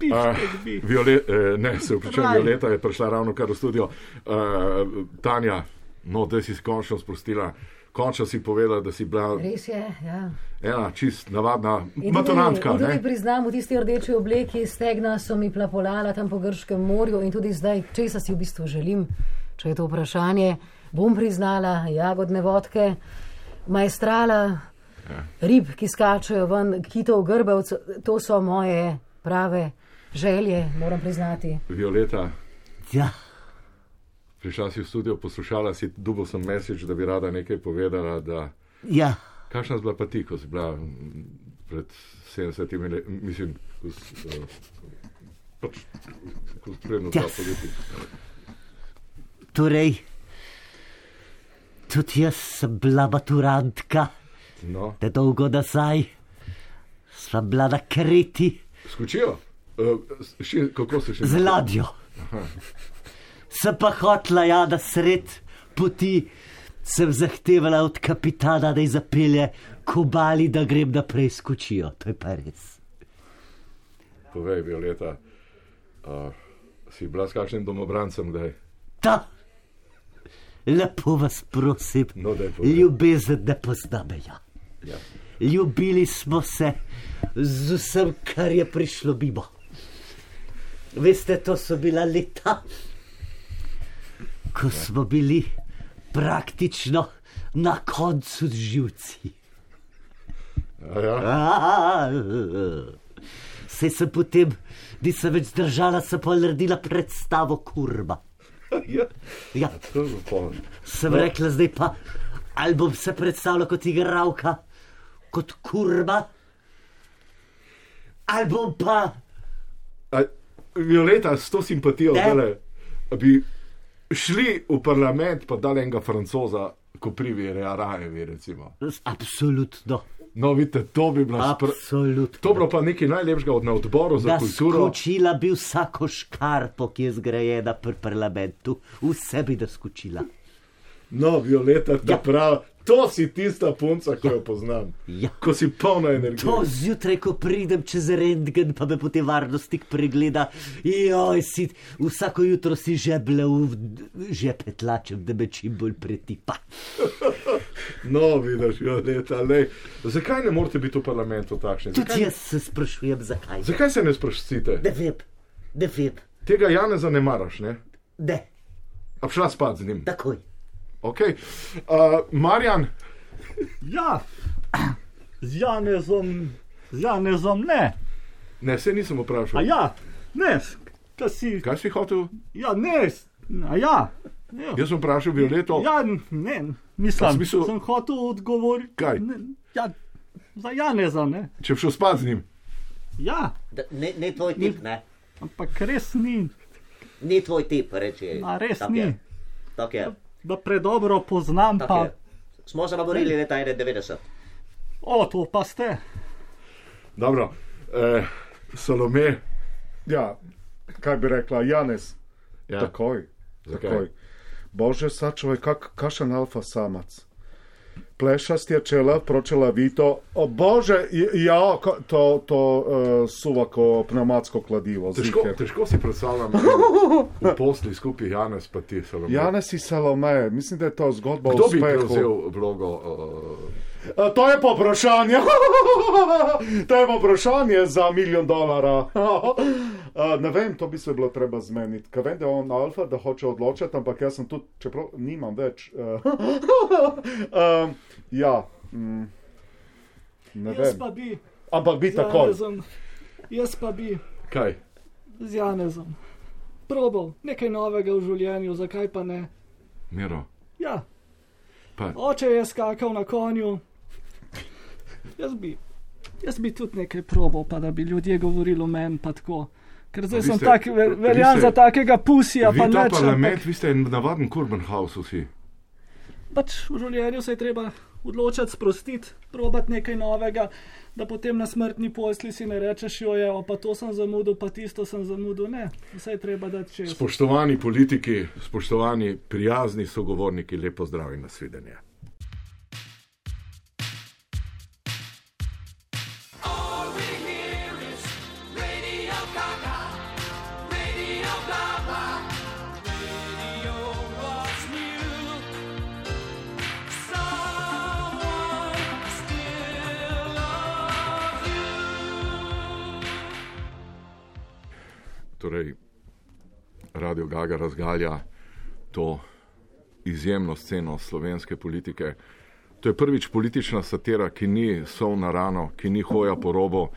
Uh, Viole, eh, ne, se upravičujem,
Raj.
Violeta je prišla ravno kar v studio. Uh, Tanja, no, da si se končno sprostila, končno si povedala, da si bila
Res je, ja.
ena čist navadna
In
maturantka.
Tudi, in
ne?
tudi priznam, v tisti rdeči obleki stegna so mi plapolala tam po Grškem morju in tudi zdaj, česa si v bistvu želim, če je to vprašanje, bom priznala jagodne vodke, majstrala,
Ja.
rib, ki skačejo ven, kitov grbavc, to so moje prave želje, moram priznati.
Violeta,
ja.
prišla si v studio, poslušala si, dubo sem mesič, da bi rada nekaj povedala. Da,
ja.
Kakšna si bila pa ti, ko si bila mm, pred 70 leti, mislim, ko si eh, pač, ko si spremljal ta
Ja.
politik?
Torej, tudi jaz sem bila maturantka,
No.
da dolgo nazaj, sem bila na kreti
Skočijo? Eh, s- še- Kako se še
z ladjo. Sem pa hotla, ja, na sred poti sem zahtevala od kapitana, da je zapelje kobali, da grem naprej skočijo. To je pa res.
Povej, Violeta, Uh, si bila s kakšnim domobrancem, da je?
Ta. Lepo vas prosim,
No, daj povej.
ljubezen ne pozna meja.
Ja.
Ljubili smo se z vsem, kar je prišlo mimo. Veste, to so bila leta, ko smo bili praktično na koncu z živci.
A ja?
Sej sem potem, nisem več zdržala, sem pa naredila predstavo kurba.
ja.
Ja,
To je popoln.
sem rekla, zdaj pa ali bom se predstavljala kot igravka, kot kurba, ali bom pa.
A, Violeta, s to simpatijo,
Ne.
da bi šli v parlament, pa dali enega francoza, ko privijo Arajevi. Recimo.
Absolutno,
No, vidite, to bi bila spra...
absolutno.
To bi bilo pa nekaj najlepšega od na odboru za
Da
kulturo.
skočila bi vsako škarpo, ki je zgrajena pri parlamentu, vse bi da skočila.
No, Violeta, ja.
Ja.
prav, to si tista punca, ki jo poznam.
Ja.
Ko si polna energije.
To zjutraj, ko pridem čez rentgen, pa me potem varnostnik pregleda. Joj, si, vsako jutro si žeble v žepe tlačem, da me čim bolj pretipa.
No, vidiš, Violeta, lej. zakaj ne morete biti v parlamentu takšni?
Tudi
Zakaj,
jaz se sprašujem, zakaj.
zakaj se ne sprašujete?
Ne vem, ne vem,
Tega Janeza ne maraš, ne?
ne,
A bi šla spat z njim.
takoj.
Okay. Uh, Marjan,
Ja, z Janezom, z Janezom ne.
ne, se nisem
A
vprašal.
ja, ne, s- ka si,
Kaj si hotel?
ja, ne, s- a ja.
Jaz sem vprašal Violeto.
Ja, n- ne,
A
mislim,
smisel-
sem hotel odgovoriti.
Kaj?
Ne, ja, za Janeza, ne.
Če bi šel spat z njim.
Ja,
Da, ne, ne tvoj tip, ne.
ampak res ni,
Ni tvoj tip, reči.
a res
Tako
ni.
je. Tako je.
Da predobro poznam,
Tako
pa
je. Smo se naborili leta 91.
o to pa ste.
Dobro, eh, Salome,
Ja, kaj bi rekla Janes?
ja.
Takoj.
Zakaj?
takoj. Bože, sačuvaj, kak, kašen alfa samac. Plešast je čela, pročela vito. O bože, j- ja, ka- to, to uh, suvako pneumatsko kladivo.
Težko,
ziher.
težko si predstavljam, da je v posli skupaj Janes pa ti Salome.
Janes i Salome, mislim da je to zgodba o
Kdo bi
uspehu.
prevzel vlogo? Uh,
A, E, to je pa vprašanje. <laughs> to je pa vprašanje za milijon dolara. <laughs> A, ne vem, to bi se bilo treba zmeniti. Ker vem, da je on alfa, da hoče odločiti, ampak jaz sem tudi, čeprav nimam več. <laughs> um, ja, mm, ne
Jaz
vem.
pa bi
Ampak bi
z
tako.
Janezom, jaz pa bi
kaj?
z Janezom probal nekaj novega v življenju, zakaj pa ne.
Miro.
Ja,
Pa,
oče je skakal na konju. Jaz bi, jaz bi tudi nekaj probal, pa da bi ljudje govorili o meni, pa tako. Ker zdaj
vi
sem
ste-
tak, ver-
vi
verjam
ste-
za takega pusija,
vi
ja pa
ta
neč.
parlament, vi ste en navaden kurben haus vsi.
Pač v življenju se je treba odločiti, sprostiti, probati nekaj novega, da potem na smrtni posli si ne rečeš, jo je, "O, pa to sem zamudil, pa tisto sem zamudil. Ne, vse je treba dati čez.
Spoštovani politiki, spoštovani prijazni sogovorniki, lepo zdrav in nasvidenje. Torej, Radio Gaga razgalja to izjemno sceno slovenske politike. To je prvič politična satira, ki ni sol na rano, ki ni hoja po robu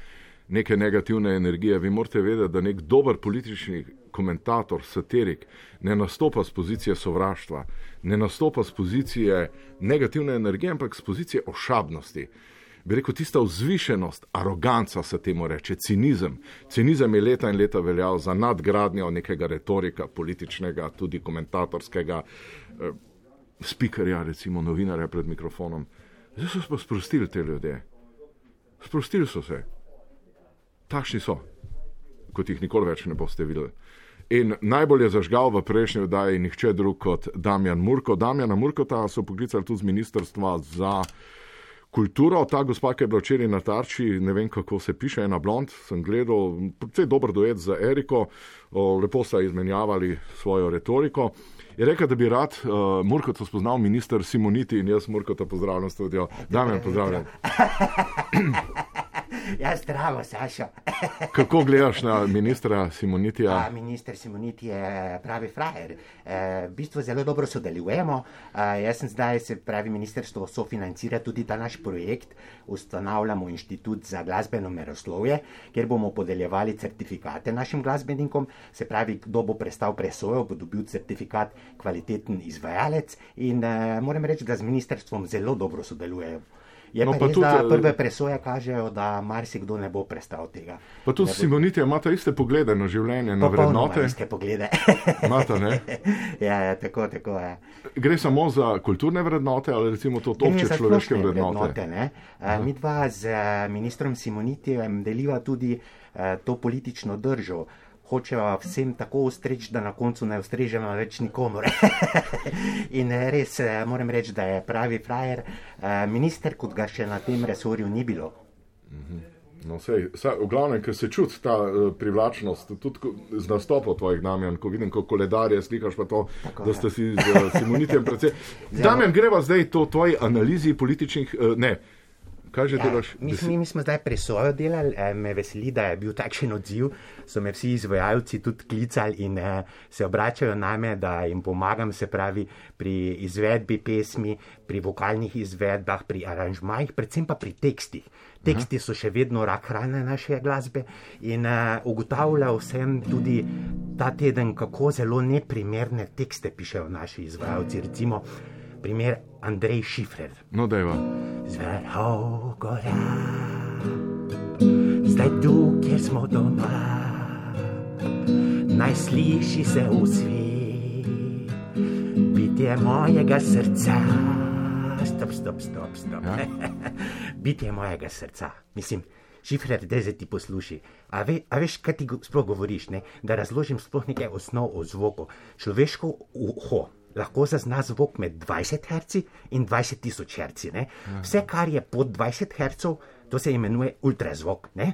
neke negativne energije. Vi morate vedeti, da nek dober politični komentator, satirik, ne nastopa z pozicije sovraštva, ne nastopa z pozicije negativne energije, ampak z pozicije ošabnosti. Bi rekel, tista vzvišenost, aroganca se temu reče, cinizem. Cinizem je leta in leta veljal za nadgradnjo nekega retorika, političnega, tudi komentatorskega, eh, spikerja, recimo novinarja pred mikrofonom. Zdaj so se pa sprostili te ljudje. Sprostili so se. Takšni so, kot jih nikoli več ne boste videli. In najbolj je zažgal v prejšnji oddaji nihče drug kot Damjan Murko. Damjana Murkota so poklicali tudi z Ministrstva za kulturo. Ta gospa, ki je bila včeraj na tarči, ne vem kako se piše, ena blond, sem gledal, precej dober duet za Eriko, o, lepo sta izmenjavali svojo retoriko. Je rekel, da bi rad uh, Murkota spoznal minister Simoniti in jaz Murkota pozdravljam studio. Damien, pozdravljam.
Ja, zdravo, Sašo. <laughs>
Kako gledaš na ministra
A,
Simonitija?
minister Simoniti je pravi frajer. E, v bistvu zelo dobro sodelujemo. E, jaz sem zdaj, se pravi, ministrstvo sofinancira tudi ta naš projekt. Ustanavljamo inštitut za glasbeno meroslovje, kjer bomo podeljevali certifikate našim glasbenikom. Se pravi, kdo bo prestal presojo, bo dobil certifikat kvaliteten izvajalec. In e, moram reči, da z ministrstvom zelo dobro sodelujejo. Je no,
No, pa
pa res,
tudi,
da
eh,
prve presoje kažejo, da marsikdo ne bo prestal tega.
Pa tudi
Ne bo-
Simonitija imata iste poglede na življenje, na
Popolnoma
vrednote.
Iste poglede.
<laughs> Imata, ne?
<laughs> ja, ja, tako, tako je.
Gre samo za kulturne vrednote ali recimo to
Gre
obče
za
človeške
splošne
vrednote.
vrednote uh, mi dva z eh, ministrom Simonitijem deliva tudi eh, to politično držo. Hočeva vsem tako ustreči, da na koncu ne ustrežemo več nikomor. <laughs> In eh, res eh, moram reči, da je pravi frajer, eh, minister, kot ga še na tem resorju ni bilo.
No, sej, saj, v glavnem, ker se čuti ta uh, privlačnost, tudi ko, z nastopom tvojih Damjan, ko vidim, kako koledarje slikaš, pa to,
ja.
Tako, da ste si z uh, Simonitijem precej.
<laughs>
Damjan, greva zdaj to tvoji analizi političnih, uh, ne, kaj že delaš?
mi, smo, Ja, mi smo zdaj presojo delali, eh, me veseli, da je bil takšen odziv. So me vsi izvajalci tudi klicali in eh, se obračajo name, da jim pomagam, se pravi, pri izvedbi pesmi, pri vokalnih izvedbah, pri aranžmajih, predvsem pa pri tekstih. Teksti so še vedno rak hrana naše glasbe in uh, ugotavljal sem tudi ta teden, kako zelo neprimerne tekste pišejo naši izvajalci. Recimo, primer Andrej Šifrer
No, dejva.
z vrhov gora. Zdaj tu, kjer smo doma, naj sliši se usvit, bitje mojega srca. Stop, stop, stop, stop. Ja? <laughs> bitje mojega srca. Mislim, šifrer, da se ti posluši. A, ve, a veš, kaj ti go- sploh govoriš, ne? da razložim sploh nekaj osnov o zvoku. Človeško uho lahko zazna zvok med 20 Hz in 20 tisoč Hz. ne. Vse, kar je pod 20 Hz, to se imenuje ultrazvok. ne.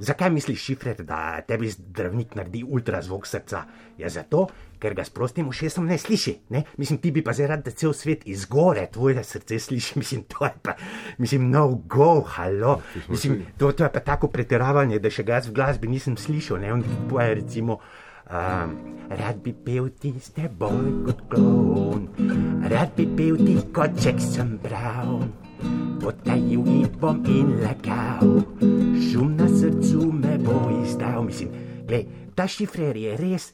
Zakaj misliš, šifrer, da tebi zdravnik naredi ultrazvok srca? Ja, zato, ker ga s prostim ušesom ne sliši. Ne? Mislim, ti bi pa zdaj rad, da cel svet iz gore tvoje srce sliši. <laughs> Mislim, to je pa, mislim, no go, halo. Mislim, to, to je pa tako pretiravanje, da še ga jaz v glasbi nisem slišal. Ne? On poje recimo. Um, rad bi pel ti s teboj kot klon, rad bi pel ti kot Jackson Brown. Potajil jih bom in lagal, šum na srcu me bo izdal. Mislim, glej, ta šifrer je res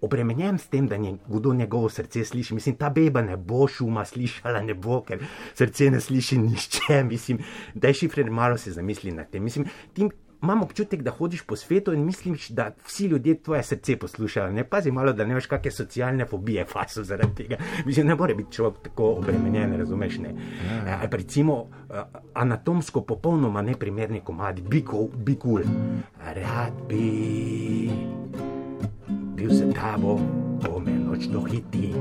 obremenjen s tem, da nje- kdo njegovo srce sliši. Mislim, ta beba ne bo šuma slišala, ne bo, ker srce ne sliši nišče. <laughs> Mislim, da je šifrer malo se zamisli nad tem. Mislim, ti imam občutek, da hodiš po svetu in misliš, da vsi ljudje tvoje srce poslušajo. Ne pazi malo, da ne veš, kakšne socialne fobije faso zaradi tega. Mislim, ne more biti človek tako obremenjen, razumeš? Ne? Ja. Ali pa recimo eh, anatomsko popolnoma neprimerni komadi, bikov, bikul. Rad bi bil sem tabo, pomenoč dohiti.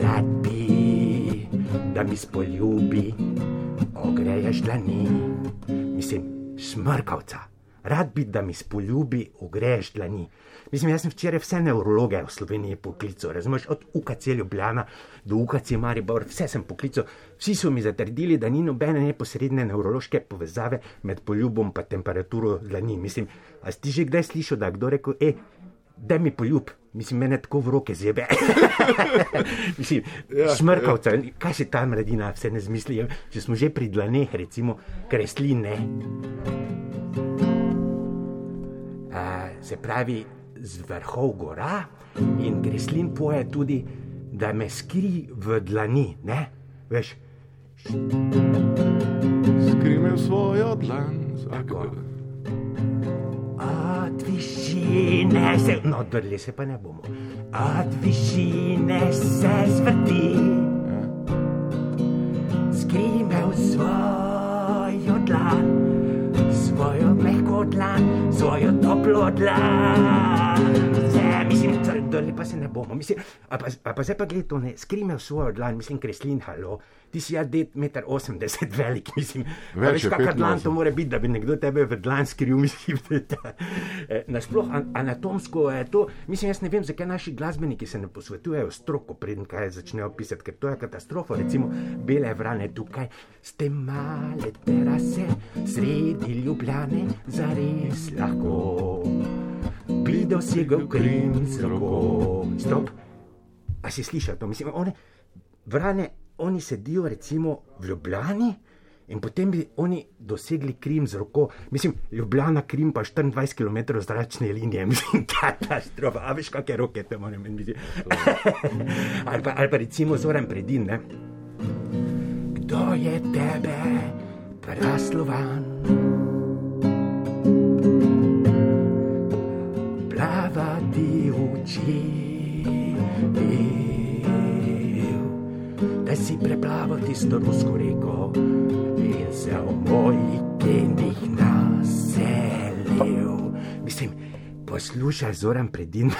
Rad bi, da mi spoljubi, ogreješ dlani, mislim, smrkavca. Rad bi, da mi spoljubi, ogreješ dlani. Mislim, jaz sem včeraj vse nevrologe v Sloveniji poklical, razumete, od UKC Ljubljana do UKC Maribor, vse sem poklical. Vsi so mi zatrdili, da ni nobene neposredne nevrološke povezave med poljubom in temperaturo dlani. Mislim, a si ti že kdaj slišal, da je kdo rekel, hej, da mi poljub, mislim, mene tako v roke <laughs> zebe. <laughs> mislim, ja, smrkavca, ja. kaj se ta mladina vse ne zmisli, ja? če smo že pri dlaneh, recimo kresline. A, se pravi, z vrhov gora in kreslin poje tudi, da me skri v dlani, ne? Veš,
Skrime svojo dlan.
Tako. Od višine se, no, drli se pa ne bomo. Od višine se zvrti,
Ja.
skrime v svojo dlan, svojo mehko dlan, svojo toplo dlan. Se, mislim, dole pa se ne bomo. Mislim, a, pa, a pa zdaj pa gledaj to, ne, skrime v svojo dlan, mislim, kreslin, halo. Ti si ja 1,80 m velik, mislim. Pa
Več
Veš,
je,
kakšen dlan
85.
to mora biti, da bi nekdo tebe v dlan skril, <laughs> mislim, da je ta, eh, nasploh an, anatomsko je to. Mislim, jaz ne vem, zakaj naši glasbeniki se ne posvetujejo stroko, preden kaj začnejo pisati, ker to je katastrofa. Recimo, bele vrane tukaj, ste male terase, sredi ljubljane, zares lahko. Bi dosegel krim z roko. Stop. A si slišal to? Mislim, one, vrane, oni sedijo recimo v Ljubljani. In potem bi oni dosegli krim z roko, mislim, Ljubljana, krim pa 24 km zračne linije, <laughs> mislim, katastrofa, a veš, kakšne roke te moram imeti. <laughs> ali, pa, ali pa recimo zoren predin, ne? Kdo je tebe, praslovan? Plavati učil, da si preplaval tisto rusko reko in se v mojih genih naselil. Mislim, poslušaj, zoram predin,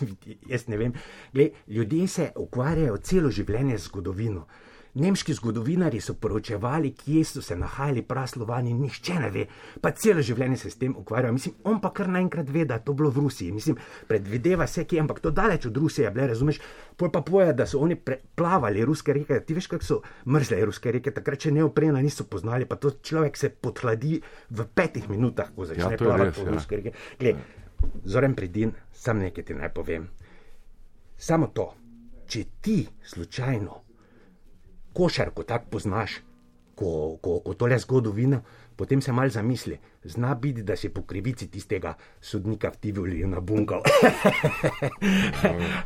<laughs> jaz ne vem. Glej, ljudje se ukvarjajo celo življenje z zgodovino. Nemški zgodovinari so poročevali, kje so se nahajali praslovani, nihče ne ve, pa celo življenje se s tem ukvarja. Mislim, on pa kar naenkrat ve, da je to bilo v Rusiji. Mislim, predvideva se, kje, ampak to daleč od Rusije je bilo, razumeš? Pol pa poje, da so oni pre- plavali ruske reke, ti veš, kako so mrzle ruske reke, takrat še neoprena niso poznali, pa to človek se podhladi v petih minutah, ko začne
Ja,
ja,
to je
plavati
res,
po
ja.
ruske reke. Gled, Zoren predin, sam nekaj ti naj povem. Samo to, če ti slučajno košarko tako poznaš, ko, ko, ko tole zgodovina, potem se mal zamisli. Zna biti, da si po krivici tistega sodnika v Tivoli nabunkal.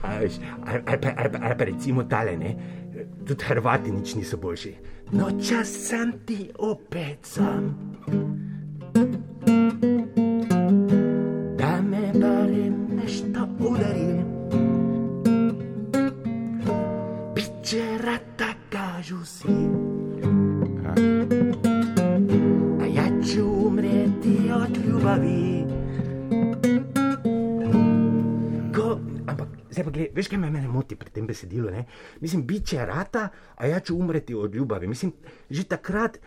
A veš, Ali ali pa- ali pa- ali pa recimo tale, ne? tudi Hrvati nič niso boljši. No, čas sem ti opet sam. Da me barem nešto udari. Pičerata kažu si. A ja ću umreti od ljubavi. Ko, ampak, zdaj pa gledaj, veš, kaj me mene moti pri tem besedilu? Ne? Mislim, biče rata, a ja ću umreti od ljubavi. Mislim, že takrat.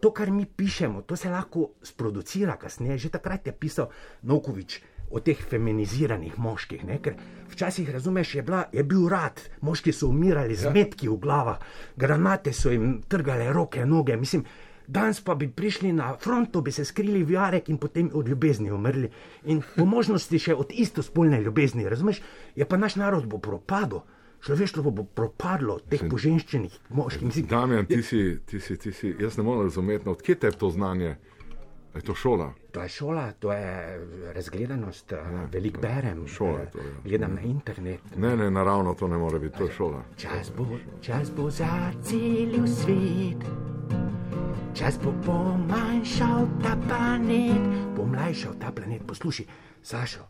To, kar mi pišemo, to se lahko sproducira kasneje. Že takrat je pisal Novkovič o teh feminiziranih moških. Ne? Ker včasih, razumeš, je, bila, je bil rad, moški so umirali z metki v glavah, granate so jim trgale roke, noge. Mislim, Danes pa bi prišli na fronto, bi se skrili v jarek in potem od ljubezni umrli. In po možnosti še od istospolne ljubezni, razumeš? Je pa naš narod bo propadel, človeštvo bo propadlo od teh poženščenih moških. Mislim,
Damien, ti si, ti si, ti si, jaz ne morem razumeti, no, odkje te to znanje? A Je to šola?
To je šola, to je eh, razgledanost, veliko berem.
šola je
eh,
Ja, to, ja.
Gledam na internet.
Ne, ne, naravno to ne more biti, to je šola.
Čas
Mhm.
bo, čas bo za cel svet. Čas bo pomanjšal ta planet, pomlajšal ta planet. Poslušaj, Sašo,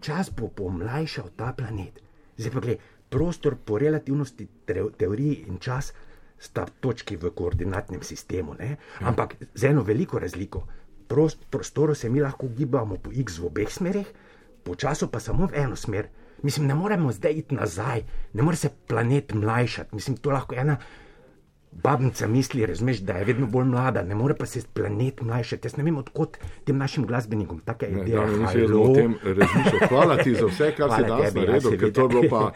čas bo pomlajšal ta planet. Zdaj pa gledaj, prostor po relativnosti tre- teoriji in čas sta točki v koordinatnem sistemu, ne?
Ja.
ampak z eno veliko razliko. Prost, prostoru se mi lahko gibamo po x v obeh smerih, po času pa samo v eno smer. Mislim, ne moremo zdaj iti nazaj, ne more se planet mlajšati. Mislim, to lahko ena Babnica misli, razumeš, da je vedno bolj mlada, ne more pa se planet mlajšati. Jaz ne vem, odkot tem našim glasbenikom take
Ne,
ideje.
Damien, mislim, da bomo o tem razmišljali. Ja, Hvala ti za vse,
<laughs>
kar si
Hvala
danes
tebi, ja,
naredil, ker
seveda.
to je bilo <laughs> pa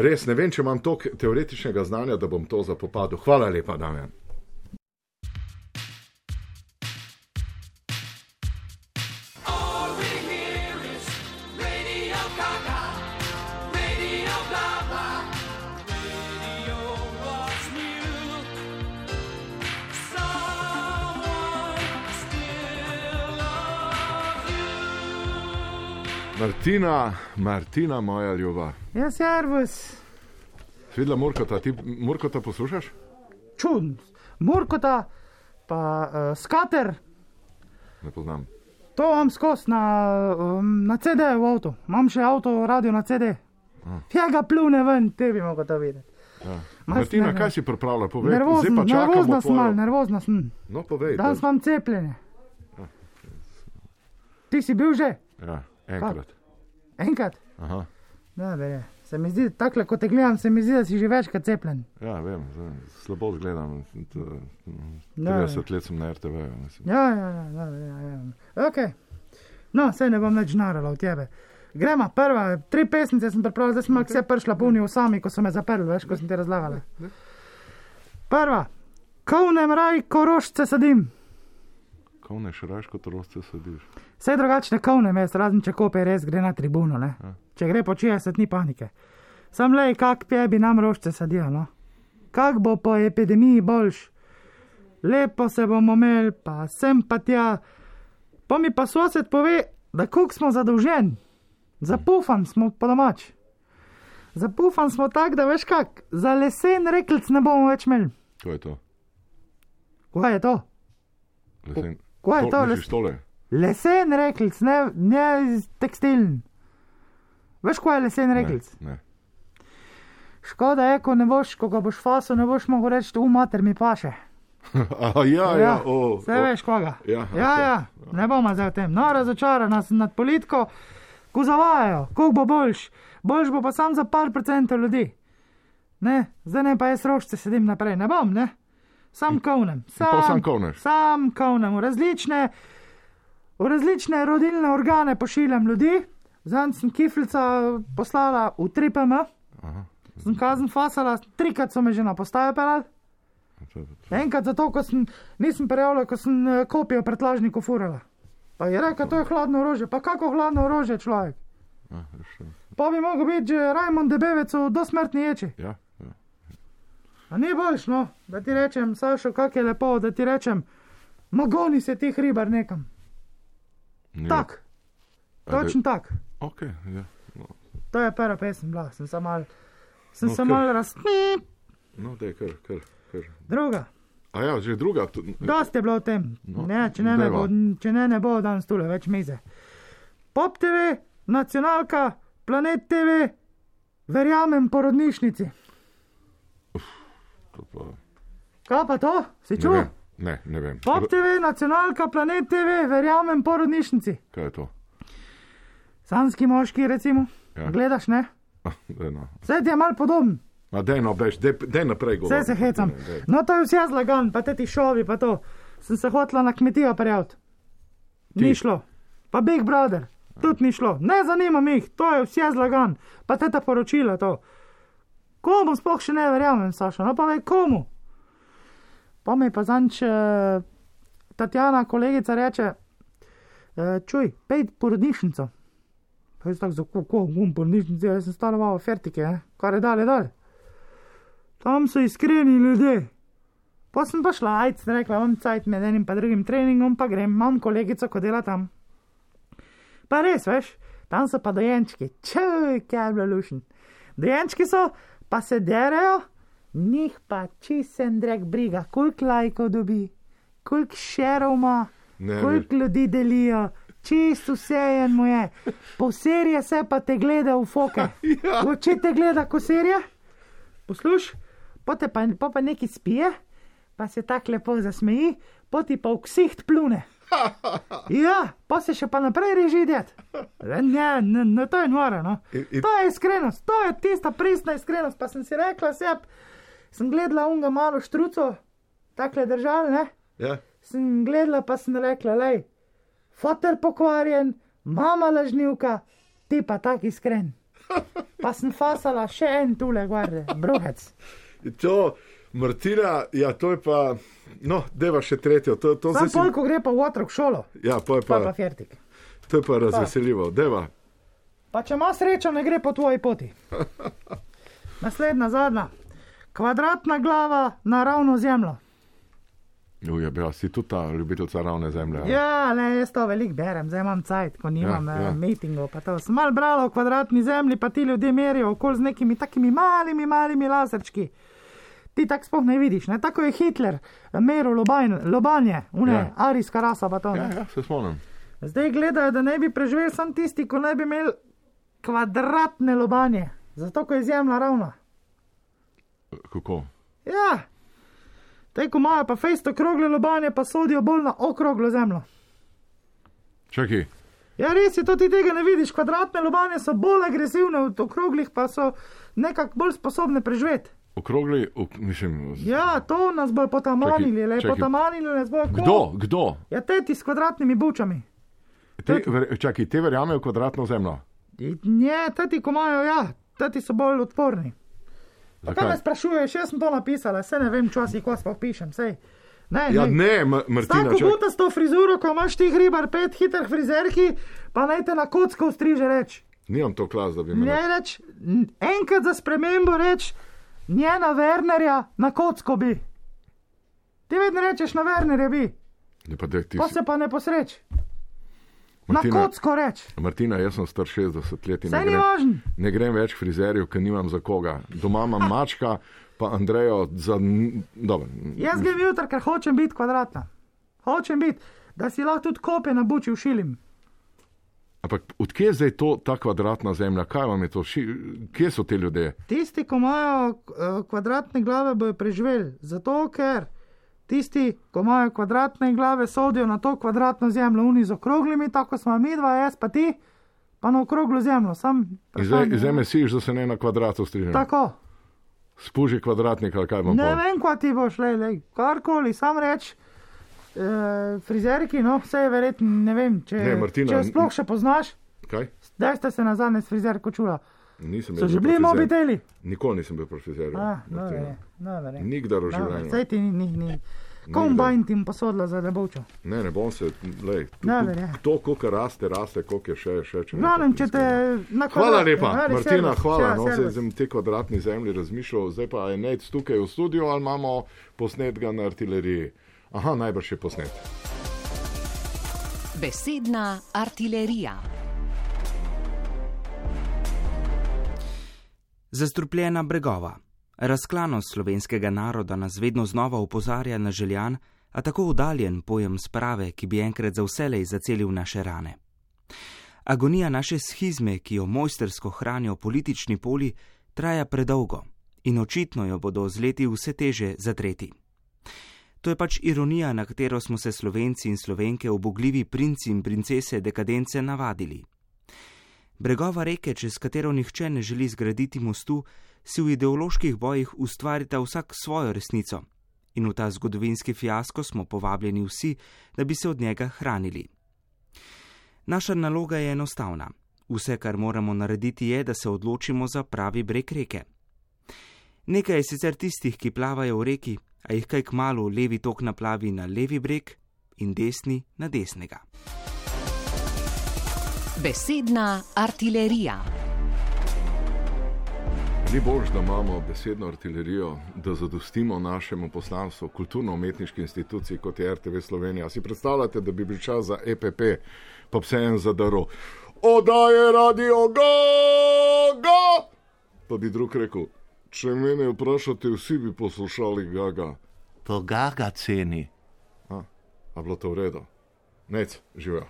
res, ne vem, če imam toliko teoretičnega znanja, da bom to zapopadil. Hvala lepa, Damien. Martina, Martina, moja ljuba.
Ja, servus.
Si videla Murkota, ti Murkota poslušaš?
Čun, Murkota, pa uh, skater,
Ne poznam.
to imam skozi na, um, na CD v avtu. Imam še avto, radio na CD. Ja, ga plune ven, te bi mogel to videti. Mas
Ja. Martina,
ne, ne.
kaj si pripravila? Povej, zdaj
Nervozna,
pa čakamo.
nervozna sem, mal,
Tvojo...
nervozna sem.
No, povej.
hm. Danes
da-
imam cepljenje. Ti si bil že
Ja, enkrat.
enkrat?
Aha.
Dober je. Se mi zdi, takole kot te gledam, se mi zdi, da si že večkrat cepljen.
Ja, vem, zdaj slabo gledam. t- mm,
Ja,
30 let sem na RTV. -ju, mislim.
Ja, ja, ja, dobro, ja, ja. Ok. No, sej ne bom več narala od tebe. Gremo, prva, tri pesnice sem pripravila, zdaj sem malo vse prišla polnijo sami, ko so me zaprli, veš, ko sem ti razlagala. Prva, kovnem raj, korošce sedim.
Kovneš raš kot roste sediš.
Vse drugačne kovne mest, razen če kope res gre na tribuno, ne?
Ja.
Če gre po 60, ni panike. Sam le, kak pje bi nam rošče sadijo, no? Kak bo po epidemiji boljš? Lepo se bomo imeli, pa sem pa tja. Pa mi pa sosed pove, da kuk smo zadolžen. Zapufan smo po domač. Zapufan smo tak, da veš kak, za lesen rekelc ne bomo več imeli.
To je to.
Kaj je to?
Lesen.
Kaj je
Tol-
to?
misliš
Les-
tole?
Lesen rekelc, ne, ne tekstilen. Veš, kaj je lesen rekelc?
Ne. <laughs>
Škoda je, ko ne boš, ko ga boš faso, ne boš mogel reči, u mater mi paše.
Aha, ja, ja, o,
se
o.
veš koga.
Ja,
ja,
to.
ja, ne bomo zdaj o tem. No, razočarana sem nad politiko, ko zavajajo, koliko bo boljš, boljš bo pa sam za par procentov ljudi. Ne, zdaj ne pa jaz rošče sedim naprej, ne bom, ne. Sam kovnem.
pol sam kovneš.
Sam kovnem, v različne, v različne rodilne organe pošiljam ljudi. Zanj sem kiflica poslala v 3PM.
Aha,
Sem kazen fasala, trikrat so me že na postajo pelali.
Ja,
Enkrat zato, ko sem, nisem prijavljal, ko sem eh, kopijo pretlažniku furala. Pa je rekel, to je hladno orožje, pa kako hladno orožje človek.
ja, še.
Pa bi mogel biti že Rajmond Debevec v dosmrtni ječi.
Ja, ja.
A ni boljš, no, da ti rečem, Sašo, kako je lepo, da ti rečem, magoni se ti hribar nekam.
Ni-
Tak,
A da-
točno tak.
Ok, ja. No,
To je prva pesem, bila sem samo mal, sem
No,
no,
kar.
mal raz.
no da je kar, kar, kar.
Druga,
A ja, že druga. tu-
dosti je bilo o tem.
No,
Ne, če ne, ne
dajva.
bo, če ne, ne bo danes tule več mize. Pop TV, nacionalka, planet TV, verjamem porodnišnici.
To pa-
Kaj pa to? Si
Ne
čutil?
vem, ne, ne vem.
Pop TV, nacionalka, planet TV, verjamem porodnišnici.
Kaj je to? <laughs>
Sanski moški, recimo,
Ja.
ja. gledaš, ne?
Ah, daj no.
Vse ti je mal podoben,
A dej no, bež, dej, dej naprej govor.
vse se hecam.
Daj, daj.
No, to je vse zlagan, pa te ti šovi, pa to. Sem se hotla na kmetijo prijaviti. Ni šlo. Pa Big Brother, tudi ni šlo. Ne zanima jih, to je vse zlagan, pa te ta poročila to. Komu sploh še ne verjamem, Saša, no pa ve komu. Pa mi pa zanč eh, Tatjana, kolegica, reče, eh, čuj, pej porodnišnico. Pa jaz tako zakukal, gum porodnišnice, jaz sem stala malo fertike, eh, kar je dalje, dalje. Tam so iskreni ljudje. Pa sem pa šla, ajc, sem rekla, imam cajt med enim pa drugim treningom, pa grem, imam kolegico, ko dela tam. Pa res, veš, tam so pa dojenčki, čuj, kaj je bilo lušen. Dojenčki so, pa se derajo, njih pa čisen drek briga, koliko lajkov dobi, koliko šerov ima,
Ne,
koliko ljudi delijo. Čisto vse je mu je. Poserje se pa te gleda v foke. ja. Če te gleda koserje, posluš, potem pa, pa, pa neki spije, pa se tako lepo zasmeji, poti pa v ksiht
<laughs>
plune. Ja, pa se še pa naprej reži det. Ne, ne, ne, to je nora. No. To je iskrenost, to je tista pristna iskrenost. Pa sem si rekla, sep, sem gledala unga malo štruco, takle držal, ne.
Ja.
Sem gledala, pa sem rekla, lej, foter pokvarjen, mama lažnivka, ti pa tak
<laughs>
iskren. Pa sem fasala še en tule, guarde, bruhec.
To, Martina, ja, to je pa, no, deva še tretjo. To, to
Sam
zdaj si-
pol, ko gre pa v otrok šolo,
Ja, pa je
pa pa
pa,
fertik.
to je pa razveseljivo. Deva,
Pa če ima srečo, ne gre po tvoji
<laughs>
poti. Naslednja, zadnja. Kvadratna glava na ravno zemljo.
uja, ja, bila si tudi ta ljubiteljica ravne zemlje. ali?
Ja, le jaz to veliko berem, zdaj imam cajt, ko nimam
Ja,
ja,
ja.
ja. mitingov. pa to. Sem mal brala o kvadratni zemlji, pa ti ljudje merijo okol z nekimi takimi malimi, malimi laserčki. Ti tako sploh ne vidiš, ne? tako je Hitler, meril lobanj- lobanje, une,
Ja.
ja. arijska rasa pa to.
ja,
ne.
ja, se spomnim.
Zdaj gledajo, da ne bi preživeli samo tisti, ko ne bi imeli kvadratne lobanje, zato ko je zemlja ravna.
Kako?
Ja, te ko imajo pa fejsto krogle lobanje, pa sodijo bolj na okroglo zemljo.
Čakaj,
Ja, res je, to ti tega ne vidiš. Kvadratne lobanje so bolj agresivne, v okroglih pa so nekako bolj sposobne preživeti.
Okrogli, ok, mislim, z-
Ja, to nas bojo potamanili, le
čakaj.
potamanili nas bojo. ko-
kdo, kdo?
Ja, te ti s kvadratnimi bučami.
Te, ver, čakaj, te verjamejo v kvadratno zemljo.
Ne, te ti, ko imajo, ja, te ti so bolj odporni. Pa Kaj me
Zakaj?
sprašuješ, jaz sem to napisala, se ne vem, časi, ko sploh pišem. Sej. Ne,
Ja, ne, M- Martina,
Tako
čakaj.
buta s to frizuro, ko imaš ti hribar pet hitrih frizerki, pa naj te na kocko ustriže reč.
Nimam to klas, da bi me.
Ne reč, n- enkrat za spremembo reč, njena Wernerja na kocko bi. Ti vedno rečeš na Wernerja bi,
Ne, pa daj ti.
pa
si-
se pa ne posreč. Na
Martina,
kocko reč.
Martina, jaz sem star 60 let in
Saj
ne
ni važno.
grem, ne grem več k frizerju, ker nimam za koga. Doma imam mačka, pa Andrejo za. n- Dobro.
Jaz grem jutri, ker hočem biti kvadratna. Hočem biti, da si lahko tudi kope nabučil šilim.
Ampak odkje je zdaj to, ta kvadratna zemlja? Kaj vam je to? Ši, kje so te ljudje?
Tisti, ki imajo eh, kvadratne glave, bojo preživeli. Zato, ker tisti, ki imajo kvadratne glave, sodijo na to kvadratno zemljo, oni z okroglimi, tako smo mi dva, jaz pa ti, pa na okroglo zemljo. Sam,
In Zdaj, zdaj me siš, da se ne na kvadratu strinjam.
tako.
Spuži kvadratnik ali kaj vam
Ne
bo.
vem, kaj ti boš, le, le, karkoli, sam reč. E, frizerki, no, vse je verjetno, ne vem, če,
Ne, Martina,
če jo sploh še poznaš,
Kaj?
zdaj ste se nazadnje s frizerko čula.
Nisem
So
jaz
že
bil
bili
pri frizerju.
mobiteli?
Nikoli nisem bil pri frizerju.
Ah,
Martina.
dobro je, dobro je.
Nikdar v
Dobro,
življenju.
No, Saj ti ni, ni, ni. Kombajn ti jim posodila za debočo.
Ne, ne bom se, lej, tu,
Dobro ja. No, je.
to, koliko raste, raste, koliko je še, še če ne.
Glavnem, če te na koncu. Ja,
Hvala lepa, Martina, hvala. No, zdaj sem te kvadratni zemlji razmišljal, zdaj pa je nec tukaj v studiu ali imamo posnetka na artileriji. Aha, najbrž je posnet.
Besedna artilerija.
Zastrupljena bregova. Razklanost slovenskega naroda nas vedno znova opozarja na željan, a tako oddaljen pojem sprave, ki bi enkrat za vselej zacelil naše rane. Agonija naše schizme, ki jo mojstersko hranijo politični poli, traja predolgo in očitno jo bodo z leti vse teže zatreti. To je pač ironija, na katero smo se slovenci in slovenke obogljivi princi in princese dekadence navadili. Bregova reke, čez katero nihče ne želi zgraditi mostu, si v ideoloških bojih ustvarita vsak svojo resnico. In v ta zgodovinski fiasko smo povabljeni vsi, da bi se od njega hranili. Naša naloga je enostavna. Vse, kar moramo narediti, je, da se odločimo za pravi breg reke. Nekaj je sicer tistih, ki plavajo v reki, a jih kaj k malu levi tok naplavi na levi breg in desni na desnega.
Besedna artilerija.
Ni bož, da imamo besedno artilerijo, da zadostimo našemu poslanstvu, kulturno-umetniški instituciji kot je RTV Slovenija. Si predstavljate, da bi bil čas za EPP, pa vse en zadaro. Odaje radio, ga, ga! Pa bi drug rekel, če mene vprašate, vsi bi poslušali gaga.
To gaga ceni.
A, a bilo to v redu? Nec, živijo.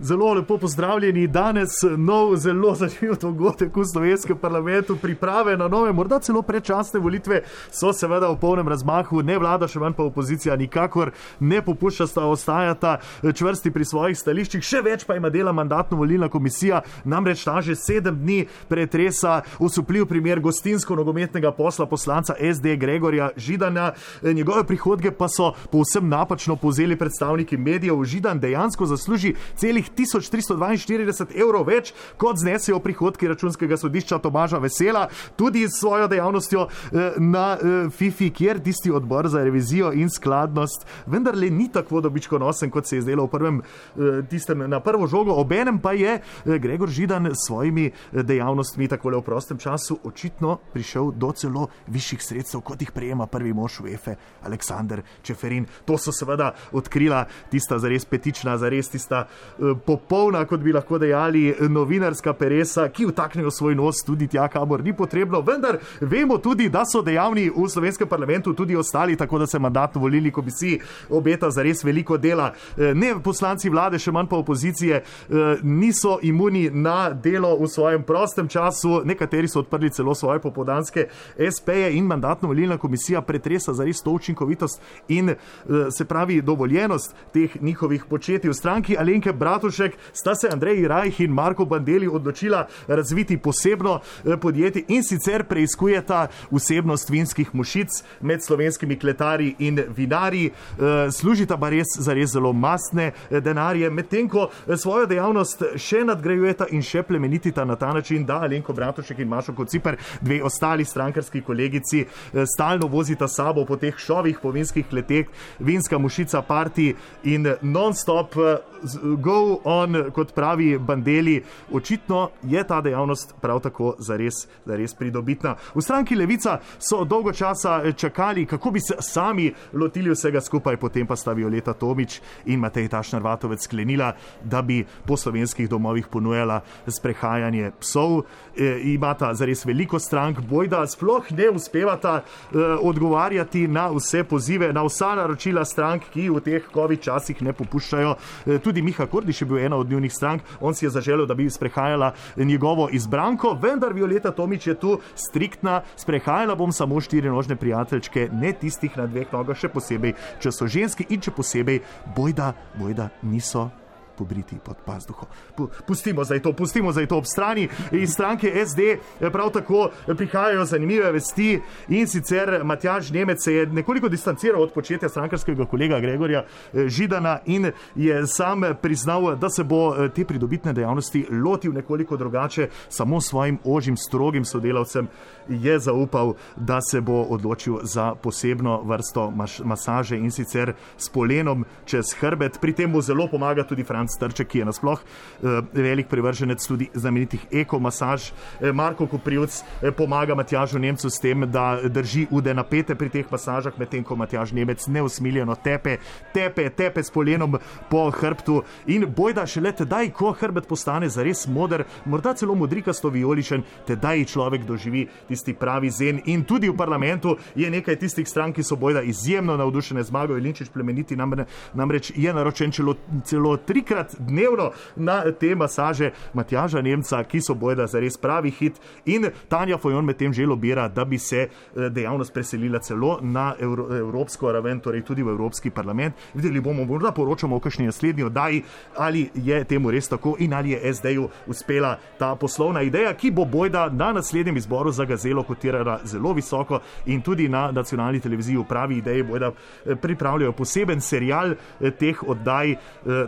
Zelo lepo pozdravljeni. Danes nov, zelo zanimiv dogodek v slovenskem parlamentu, priprave na nove, morda celo predčasne volitve so seveda v polnem razmahu, ne vlada, še manj pa opozicija, nikakor ne popuščata, ostajata eh, čvrsti pri svojih stališčih, še več pa ima dela mandatno-volilna komisija, namreč ta že sedem dni pretresa osupljiv primer gostinsko-nogometnega posla poslanca SD Gregorja Židana. Eh, Njegove prihodke pa so povsem napačno povzeli predstavniki medijev. Židan dejansko zasluži celih 1342 evrov več, kot znesejo prihodki računskega sodišča Tomaža Vesela, tudi s svojo dejavnostjo eh, na eh, FIFI, kjer tisti odbor za revizijo in skladnost vendarle ni tako dobičkonosen, kot se je zdelo v prvem, eh, tistem na prvo žogo. Obenem pa je eh, Gregor Židan s svojimi eh, dejavnostmi takole v prostem času očitno prišel do celo višjih sredstev, kot jih prejema prvi mož E. UEFA, Aleksandr Čeferin. To so seveda odkrila tista zares petična, zares tista eh, popolna, kot bi lahko dejali, novinarska peresa, ki vtaknejo svoj nos tudi tja, kamor ni potrebno. Vendar vemo tudi, da so dejavni v slovenskem parlamentu tudi ostali, tako da se mandatno volilni komisiji obeta zares veliko dela. Eh, Ne poslanci vlade, še manj pa opozicije, eh, niso imuni na delo v svojem prostem času. Nekateri so odprli celo svoje popodanske SP-je in mandatno volilna komisija pretresa zares to učinkovitost in eh, se pravi dovoljenost teh njihovih početij v stranki Alenke Bratušek. Bratušek, sta se Andrej Rajh in Marko Bandeli odločila razviti posebno eh, podjetje in sicer preizkujeta vsebnost vinskih mušic med slovenskimi kletarji in vinarji. Eh, Služita pa res za res zelo masne eh, denarje, medtem ko eh, svojo dejavnost še nadgrajujeta in še plemenitita na ta način, da Alenko Bratušek in Mašo Kociper, dve ostali strankarski kolegici, eh, stalno vozita s sabo po teh šovih, po vinskih kleteh, vinska mušica, parti in non-stop eh, z- go on, kot pravi Bandeli. Očitno je ta dejavnost prav tako zares, zares pridobitna. V stranki Levica so dolgo časa eh, čakali, kako bi se sami lotili vsega skupaj, potem pa sta Violeta Tomič in Matej Tašnar Vatovec sklenila, da bi po slovenskih domovih ponujala sprehajanje psov. E, imata zares veliko strank, bojda sploh ne uspevata e, odgovarjati na vse pozive, na vsa naročila strank, ki v teh COVID časih ne popuščajo. E, tudi Miha Kordiš je bil ena od njunih strank, on si je zaželel, da bi sprehajala njegovo izbranko, vendar Violeta Tomič je tu striktna, sprehajala bom samo štiri nožne prijateljčke, ne tistih na dveh nogah, še posebej, če so ženski in če posebej, bojda, bojda niso pobriti pod pazduho. Pu- Pustimo zdaj to, pustimo zdaj to ob strani. Iz stranke SD prav tako eh, prihajajo zanimive vesti in sicer Matjaž Nemec se je nekoliko distanciral od početja strankarskega kolega Gregorja eh, Židana in je sam priznal, da se bo eh, te pridobitne dejavnosti lotil nekoliko drugače, samo svojim ožjim, strogim sodelavcem je zaupal, da se bo odločil za posebno vrsto maš, masaže in sicer s polenom čez hrbet. Pri tem mu zelo pomaga tudi Franz Trček, ki je nasploh eh, velik privrženec tudi znamenitih ekomasaž. Eh, Marko Koprivc eh, pomaga Matjažu Nemcu s tem, da drži ude napete pri teh masažah, medtem ko Matjaž Nemec neusmiljeno tepe, tepe, tepe s polenom po hrbtu in bojda šele tedaj, ko hrbet postane zares moder, morda celo modrikasto vijoličen, tedaj človek doživi tisti pravi zen. In tudi v parlamentu je nekaj tistih strank, ki so bojda izjemno navdušene zmago. Ilinčič plemeniti namre, namreč je naročen celo, celo trikrat dnevno na te masaže Matjaža Nemca, ki so bojda za res pravi hit. In Tanja Fojon med tem že lobira, da bi se eh, dejavnost preselila celo na evro, evropsko raven, torej tudi v Evropski parlament. Videli bomo, morda poročamo o kakšni naslednji oddaji, ali je temu res tako in ali je SD-ju uspela ta poslovna ideja, ki bo bojda na naslednjem izboru za gazelo kotirala zelo visoko in tudi na nacionalni televiziji v pravi ideji bojda eh, pripravljajo poseben serial eh, teh oddaj, eh,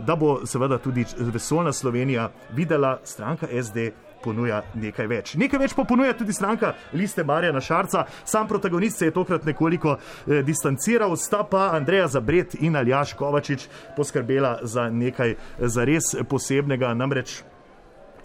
da bo seveda tudi eh, vesolna Slovenija videla stranka SD ponuja nekaj več. Nekaj več pa ponuja tudi stranka Liste Marjana Šarca. Sam protagonist se je tokrat nekoliko eh, distanciral, sta pa Andreja Zabret in Aljaš Kovačič poskrbela za nekaj eh, zares posebnega, namreč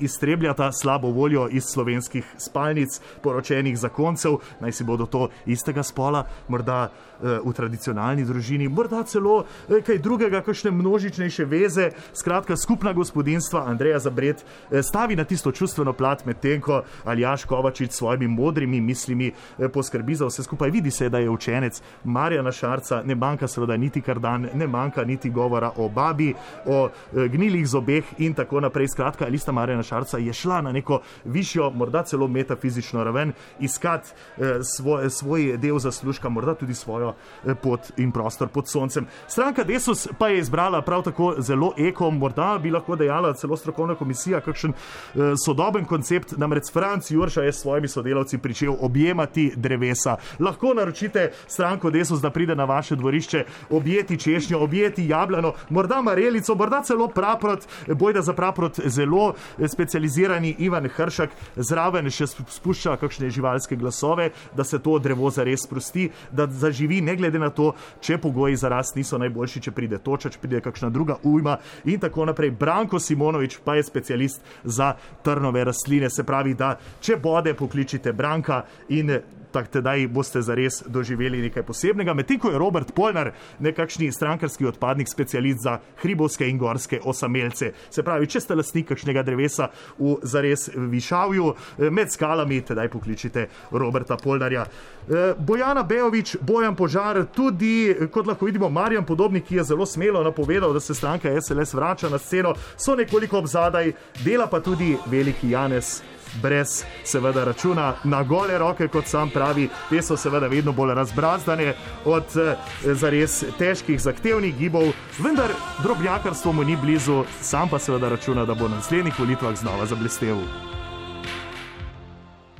iztrebljata slabo voljo iz slovenskih spalnic, poročenih zakoncev, naj si bodo to istega spola, morda eh, v tradicionalni družini, morda celo eh, kaj drugega, kakšne množičnejše veze. Skratka, skupna gospodinstva Andreja Zabret eh, stavi na tisto čustveno plat, medtem ko Aljaš Kovačič s svojimi modrimi mislimi eh, poskrbi za vse skupaj. Vidi se, da je učenec Marjana Šarca, ne manjka seveda niti kar dan, ne manjka niti govora o babi, o eh, gnilih zobeh in tako naprej. Skratka, lista Marjana Šarca je šla na neko višjo, morda celo metafizično raven, iskati eh, svoj, svoj del zaslužka, morda tudi svojo eh, pot in prostor pod soncem. Stranka Desus pa je izbrala prav tako zelo eko, morda bi lahko dejala celo strokovna komisija, kakšen eh, sodoben koncept. Namreč Franc Jurša je s svojimi sodelavci pričel objemati drevesa. Lahko naročite stranko Desus, da pride na vaše dvorišče, objeti češnjo, objeti jablano, morda marelico, morda celo praprot, bojda za praprot zelo eh, specializirani Ivan Hršak, zraven še sp- spušča kakšne živalske glasove, da se to drevo zares sprosti, da zaživi, ne glede na to, če pogoji za rast niso najboljši, če pride toča, če pride kakšna druga ujma in tako naprej. Branko Simonovič pa je specialist za trnove rastline, se pravi, da če bode, pokličite Branka in tak tedaj boste zares doživeli nekaj posebnega. Medtem ko je Robert Polnar nekakšni strankarski odpadnik, specialist za hribovske in gorske osamelce. Se pravi, če ste lastnik kakšnega drevesa v zares višavju eh, med skalami, tedaj pokličite Roberta Polnarja. Eh, Bojana Bejovič, Bojan Požar, tudi eh, kot lahko vidimo, Marjan Podobnik, ki je zelo smelo napovedal, da se stranka SLS vrača na sceno, so nekoliko obzadaj, dela pa tudi veliki Janes brez seveda računa na gole roke, kot sam pravi. Te so seveda vedno bolj razbrazdane od eh, zares težkih, zahtevnih gibov, vendar drobnjakarstvo mu ni blizu, sam pa seveda računa, da bo na naslednjih volitvah znova zablestev.